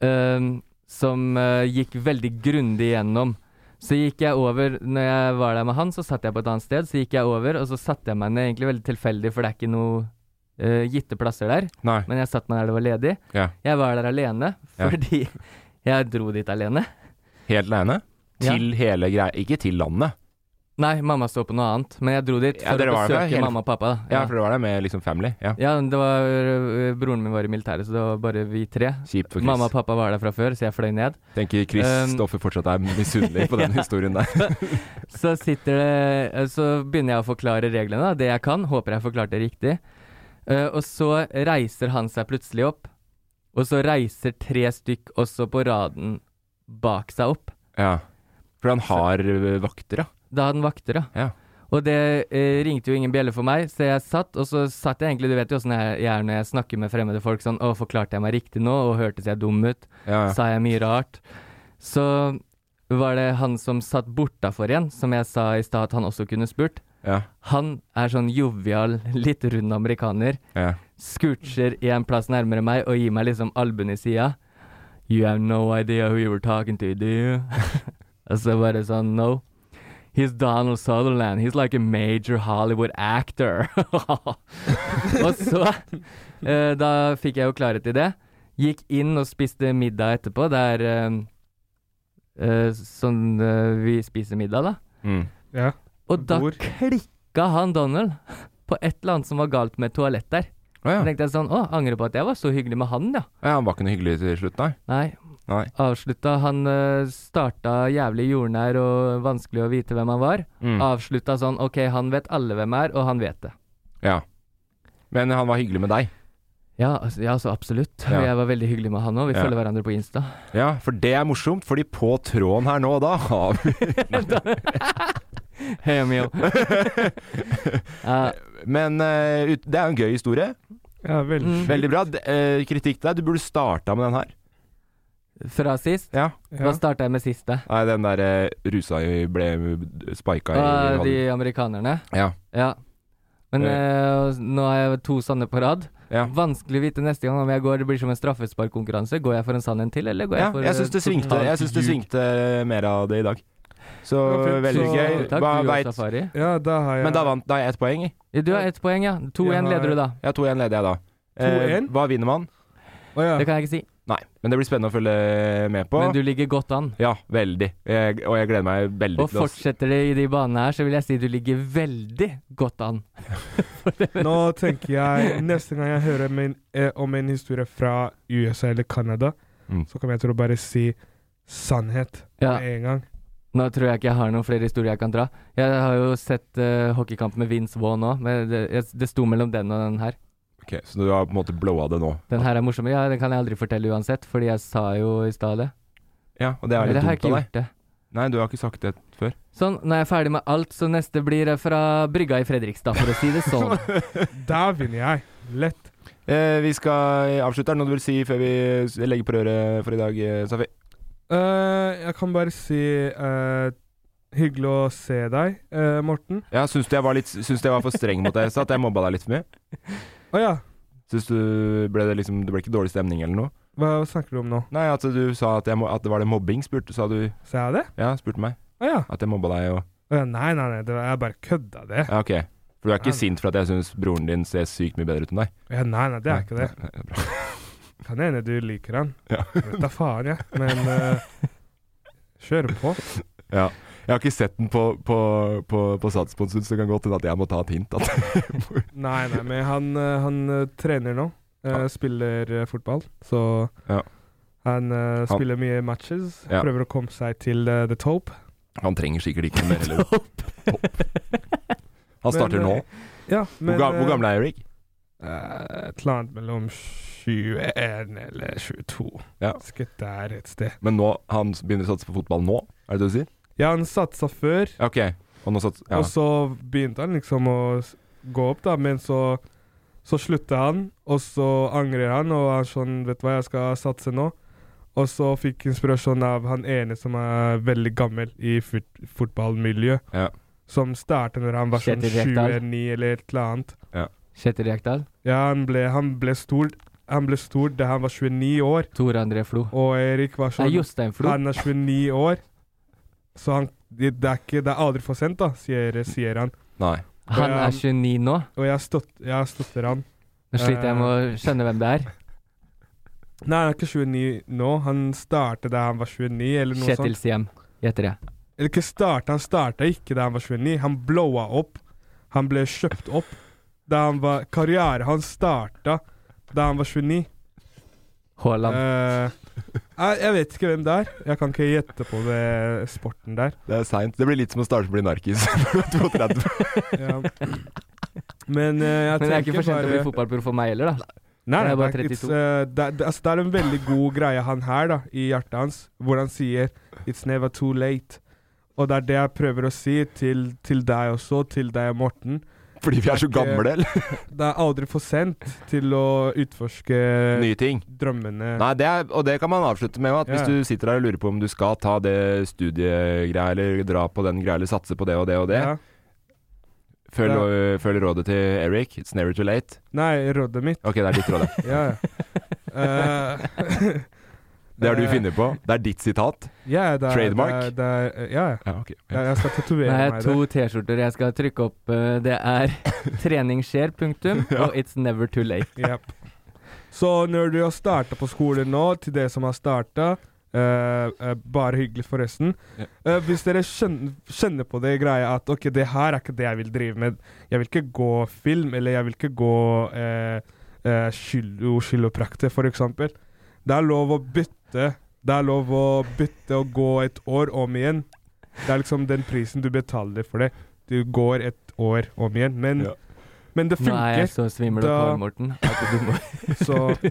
S3: Eh, som eh, gikk veldig grundig gjennom. Så gikk jeg over Når jeg var der med han, så satt jeg på et annet sted. Så gikk jeg over, og så satte jeg meg ned egentlig veldig tilfeldig, for det er ikke noe eh, gitte plasser der.
S1: Nei.
S3: Men jeg satt meg der det var ledig.
S1: Ja.
S3: Jeg var der alene
S1: Ja.
S3: fordi (laughs) jeg dro dit alene.
S1: Helt aleine?
S3: Ja.
S1: Til hele greia Ikke til landet.
S3: Nei, mamma så på noe annet, men jeg dro dit
S1: Ja,
S3: for
S1: dere
S3: å
S1: var der
S3: besøke
S1: hele-
S3: mamma og pappa. da.
S1: Ja, for det var det med liksom family. Ja.
S3: Ja, det var øh, Broren min var i militæret, så det var bare vi tre.
S1: Kjipt for Chris.
S3: Mamma og pappa var der fra før, så jeg fløy ned.
S1: Tenker Kristoffer fortsatt er misunnelig på (laughs) den
S3: Ja.
S1: historien der.
S3: Så sitter det øh, Så begynner jeg å forklare reglene, da, det jeg kan. Håper jeg forklarte det riktig. Eh, og så reiser han seg plutselig opp. Og så reiser tre stykk også på raden bak seg opp.
S1: Ja. For han har eh, vakter, ja.
S3: Da hadde han vakter, da.
S1: ja.
S3: Og det eh, ringte jo ingen bjelle for meg, så jeg satt, og så satt jeg egentlig Du vet jo åssen jeg jeg er når jeg snakker med fremmede folk, sånn Å, forklarte jeg meg riktig nå, og hørtes jeg dum ut?
S1: Ja, ja.
S3: Sa jeg mye rart? Så var det han som satt bortafor igjen, som jeg sa i stad at han også kunne spurt.
S1: ja.
S3: Han er sånn jovial, litt rund amerikaner.
S1: ja.
S3: Scootcher en plass nærmere meg og gir meg liksom albuen i sida. You have no idea who you were talking to, do you? (laughs) og så bare sånn, no. He's Donald Sutherland. He's like a major Hollywood actor. (laughs) og så, eh, da fikk jeg jo klarhet i det. Gikk inn og spiste middag etterpå. Det er eh, eh, sånn eh, vi spiser middag, da.
S1: Mm.
S2: Ja.
S3: Og da
S2: Bord.
S3: klikka han Donald på et eller annet som var galt med toalett der.
S1: Å ja.
S3: Så tenkte jeg sånn, å, angrer på at jeg var så hyggelig med han, ja.
S1: ja. Han var ikke noe hyggelig til slutt, nei.
S3: Nei.
S1: Nei.
S3: Avslutta Han eh, starta jævlig jordnær og vanskelig å vite hvem han var.
S1: Mm.
S3: Avslutta sånn, ok, han vet alle hvem er, og han vet det.
S1: Ja. Men han var hyggelig med deg.
S3: Ja, altså, ja, så absolutt.
S1: Ja.
S3: Og jeg var veldig hyggelig med han òg. Vi
S1: Ja.
S3: følger hverandre på
S1: (laughs)
S3: Insta. (laughs)
S1: Ja, for det er morsomt, fordi på tråden her nå, da har vi
S3: Hey,
S1: (laughs)
S3: Emil.
S1: Men eh, ut, det er jo en gøy historie.
S2: Ja, veldig.
S3: Mm.
S1: Veldig bra. D- eh, kritikk der. Du burde starta med den her.
S3: Fra sist?
S1: Ja.
S3: Hva starta jeg med siste?
S1: Nei, den der eh, rusa i ble spika i
S3: Ah,
S1: hånden.
S3: de amerikanerne?
S1: Ja.
S3: Ja. Men eh, nå har jeg to sanne på rad. Vanskelig å vite neste gang om jeg går det blir som en straffesparkkonkurranse. Går jeg for en sann en til, eller går
S1: ja,
S3: jeg for
S1: jeg syns det,
S3: eh,
S1: svingte-
S3: totalt
S1: jeg syns det
S3: ljug?
S1: svingte eh, mer av det i dag. Så
S2: Ja, fint.
S1: veldig
S2: Så-
S1: gøy.
S3: Takk,
S1: Hva
S3: du og
S1: veit-
S3: Safari.
S2: Ja, da har jeg
S1: Men da vant da har jeg ett poeng. jeg.
S3: Ja, Du har ett poeng, ja. 2-1 leder du, da.
S1: Ja, 2-1 leder jeg da. Eh,
S2: 2-1?
S1: hva vinner man?
S2: Å ja.
S3: Det kan jeg ikke si.
S1: Nei, men det blir spennende å følge med på.
S3: Men du ligger godt an.
S1: Ja, veldig. Jeg, og jeg gleder meg veldig
S3: Og
S1: til å
S3: fortsetter det i de banene her, så vil jeg si du ligger veldig godt
S1: (laughs)
S3: an.
S2: Nå tenker jeg Neste gang jeg hører min, eh, om en historie fra USA eller Canada,
S1: Mm.
S2: så kommer jeg til å bare si sannhet
S3: Ja.
S2: med en gang.
S3: Nå tror jeg ikke jeg har noen flere historier jeg kan dra. Jeg har jo sett eh, hockeykamp med Vince Vaughn nå, men det, jeg, det sto mellom den og den her.
S1: Ok, Så du har på en måte blowa det nå?
S3: Den her er morsommere. Ja, den kan jeg aldri fortelle uansett, fordi jeg sa jo i stad det.
S1: Ja, og det er
S3: Eller
S1: litt
S3: har jeg
S1: dumt
S3: ikke
S1: av deg.
S3: gjort det.
S1: Nei, du har ikke sagt det før.
S3: Sånn, nå er jeg ferdig med alt, så neste blir eh, fra brygga i Fredrikstad, for å si det
S2: (laughs)
S3: sånn.
S1: (laughs)
S2: Der vinner jeg. Lett.
S1: Eh, vi skal avslutte. Er det noe du vil si før vi s- legger på røret for i dag, eh, Safi?
S2: Eh, jeg kan bare si eh, hyggelig å se deg, eh, Morten.
S1: Ja, syns du jeg var, litt, syns du jeg var for streng mot deg i stad? At jeg mobba deg litt for mye?
S2: Å ja.
S1: Syns du ble det liksom Det ble ikke dårlig stemning eller noe?
S2: Hva snakker du om nå?
S1: Nei, at du sa at, jeg, må- at det var det mobbing, spurte sa du
S2: Sa jeg det?
S1: Ja, spurte meg.
S2: Å ja.
S1: At jeg mobba deg og
S2: Å ja. Nei, nei, nei. Det var, jeg bare kødda det.
S1: Ja, ok. For du er
S2: Nei.
S1: ikke sint for at jeg syns broren din ser sykt mye bedre ut enn deg?
S2: Ja, nei, nei, det er ikke det.
S1: Nei, (laughs) nei, bra.
S2: Kan hende du liker han.
S1: Ja.
S2: Vet da faen, jeg. Men eh, kjør på.
S1: Ja. Jeg har ikke sett den på, på, på, på Sats på en stund, så det kan godt hende at jeg må ta et hint. At (laughs)
S2: Nei, nei, men han, eh, han eh, trener nå. eh,
S1: Ja.
S2: Spiller eh, fotball, så
S1: Ja.
S2: han eh, spiller mye matches.
S1: Ja.
S2: Prøver å komme seg til eh, the top.
S1: han trenger sikkert ikke noe mer. Eller. Han
S2: Men,
S1: starter nå.
S2: eh, Ja, men,
S1: hvor, ga, hvor gammel er Erik?
S2: Eh, Et eller annet mellom 21 eller 22.
S1: Ja.
S2: Skutt der et sted.
S1: Men nå, han begynner å satse på fotball nå? Er det det du sier?
S2: Ja, han satsa før,
S1: Ja, Ok. Og nå sats, ja.
S2: og så begynte han liksom å s- gå opp, da, men så så slutta han, og så angrer han, og han sånn Vet du hva, jeg skal satse nå. Og så fikk inspirasjon av han ene som er veldig gammel i fut fotballmiljø,
S1: Ja.
S2: som starta når han var sånn
S3: Kjetil Rekdal.
S2: 29 eller et eller annet.
S3: Kjetil Rekdal.
S2: Ja, han ble, han ble stor Han ble stor da han var 29 år.
S3: Tore André Flo.
S2: Og Erik var
S3: Nei,
S2: sånn
S3: Jostein Flo.
S2: Han er 29 år, så han, det, det, er ikke, det er aldri for sent, da, sier, sier han.
S1: Nei.
S3: Han
S2: Ja.
S3: er 29 nå.
S2: Og jeg, støt, jeg støtter han.
S3: Nå sliter jeg med å
S2: Eh,
S3: skjønne hvem det er.
S2: Nei, han er ikke 29 nå. Han startet da han var 29, eller noe
S3: Kjetil
S2: sånt.
S3: Siem, gjetter jeg.
S2: Eller ikke startet, han startet ikke da han var 29. Han blowa opp. Han ble kjøpt opp da han var Karrieren hans starta da han var 29.
S3: Haaland.
S2: Eh, jeg, jeg vet ikke hvem det er. Jeg kan ikke gjette på det sporten der.
S1: Det er seint. Det blir litt som å starte på å bli narkis. (laughs) Du er 32.
S3: (laughs)
S2: Ja. Men eh, jeg
S3: Men det er ikke
S2: tenker
S3: for sent å
S2: bare
S3: bli fotballproff for meg heller, da.
S2: Nei,
S3: Jeg
S2: nei,
S3: er bare
S2: det, er, it's,
S3: 32.
S2: eh, det, er- det, altså, det er en veldig god greie han her, da, i hjertet hans, hvor han sier 'It's never too late'. Og det er det jeg prøver å si til, til deg også, til deg, Morten.
S1: Fordi vi er så gamle, eller?
S2: Det er aldri for sent til å utforske
S1: (laughs) Nye ting.
S2: drømmene.
S1: Nei, det er, og det kan man avslutte med. At
S2: Ja.
S1: Hvis du sitter der og lurer på om du skal ta det studiegreia, eller dra på den greia, eller satse på det og det og det,
S2: Ja.
S1: følg,
S2: Ja.
S1: øh, følg rådet til Eric. It's never too late.
S2: Nei, rådet mitt
S1: Ok, det er ditt råd. ja. (laughs)
S2: Ja, ja. Eh,
S1: Det er du
S2: Eh.
S1: finner på. Det er ditt sitat.
S2: (laughs) ja, det er,
S1: Trademark?
S2: Det er, det er, ja, ja.
S1: Ja, ok.
S2: Jeg- (laughs) Jeg skal
S3: Det
S2: tatovere
S3: er
S2: meg det.
S3: to T-skjorter jeg skal trykke opp. eh, Det er
S2: (laughs)
S3: 'Trening skjer', punktum, og 'It's never too late'.
S2: Yep. Så når du har starta på skolen nå, til det som har starta Bare hyggelig, forresten.
S1: Ja.
S2: Eh, hvis dere skjønner, kjenner på det greia at OK, det her er ikke det jeg vil drive med. Jeg vil ikke gå film, eller jeg vil ikke gå uh, kiroprakter, for eksempel. Det er lov å bytte. Det er lov å bytte og gå et år om igjen. Det er liksom den prisen du betaler for det. Du går et år om igjen. Men,
S1: Ja.
S2: men det
S3: Nå er jeg
S2: funker.
S3: så svimmel og
S2: Da-
S3: kål, Morten. at du må-
S2: Så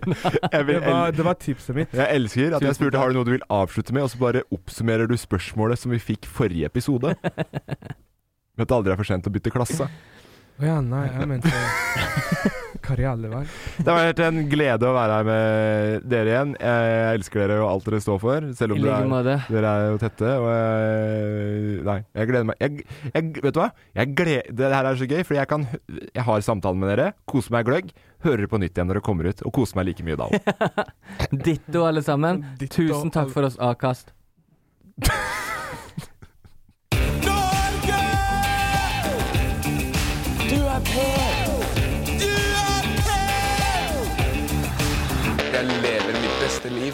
S1: Jeg, vil,
S2: det var,
S1: el
S2: det var tipset mitt.
S1: jeg elsker at
S3: Tusen
S1: jeg spurte
S3: takk.
S1: har du noe du vil avslutte med, og så bare oppsummerer du spørsmålet som vi fikk forrige episode. Men At det aldri er for sent å bytte klasse.
S2: Å ja, nei, jeg (laughs) mente
S1: (laughs)
S2: karrierevei.
S1: Det har vært en glede å være her med dere igjen. Jeg elsker dere og alt dere står for. Selv
S3: (laughs)
S1: om
S3: I like
S1: dere,
S3: måte.
S1: er, dere er jo tette. Og jeg, nei, jeg gleder meg jeg, jeg, Vet du hva? Jeg gled, det her er så gøy, fordi jeg, kan, jeg har samtalen med dere, koser meg gløgg, hører på nytt igjen når det kommer ut, og koser meg like mye da.
S3: (laughs) Ditto, alle sammen. Tusen takk for oss, Akast.
S8: Du er på! Du er på!
S6: Jeg lever mitt beste liv.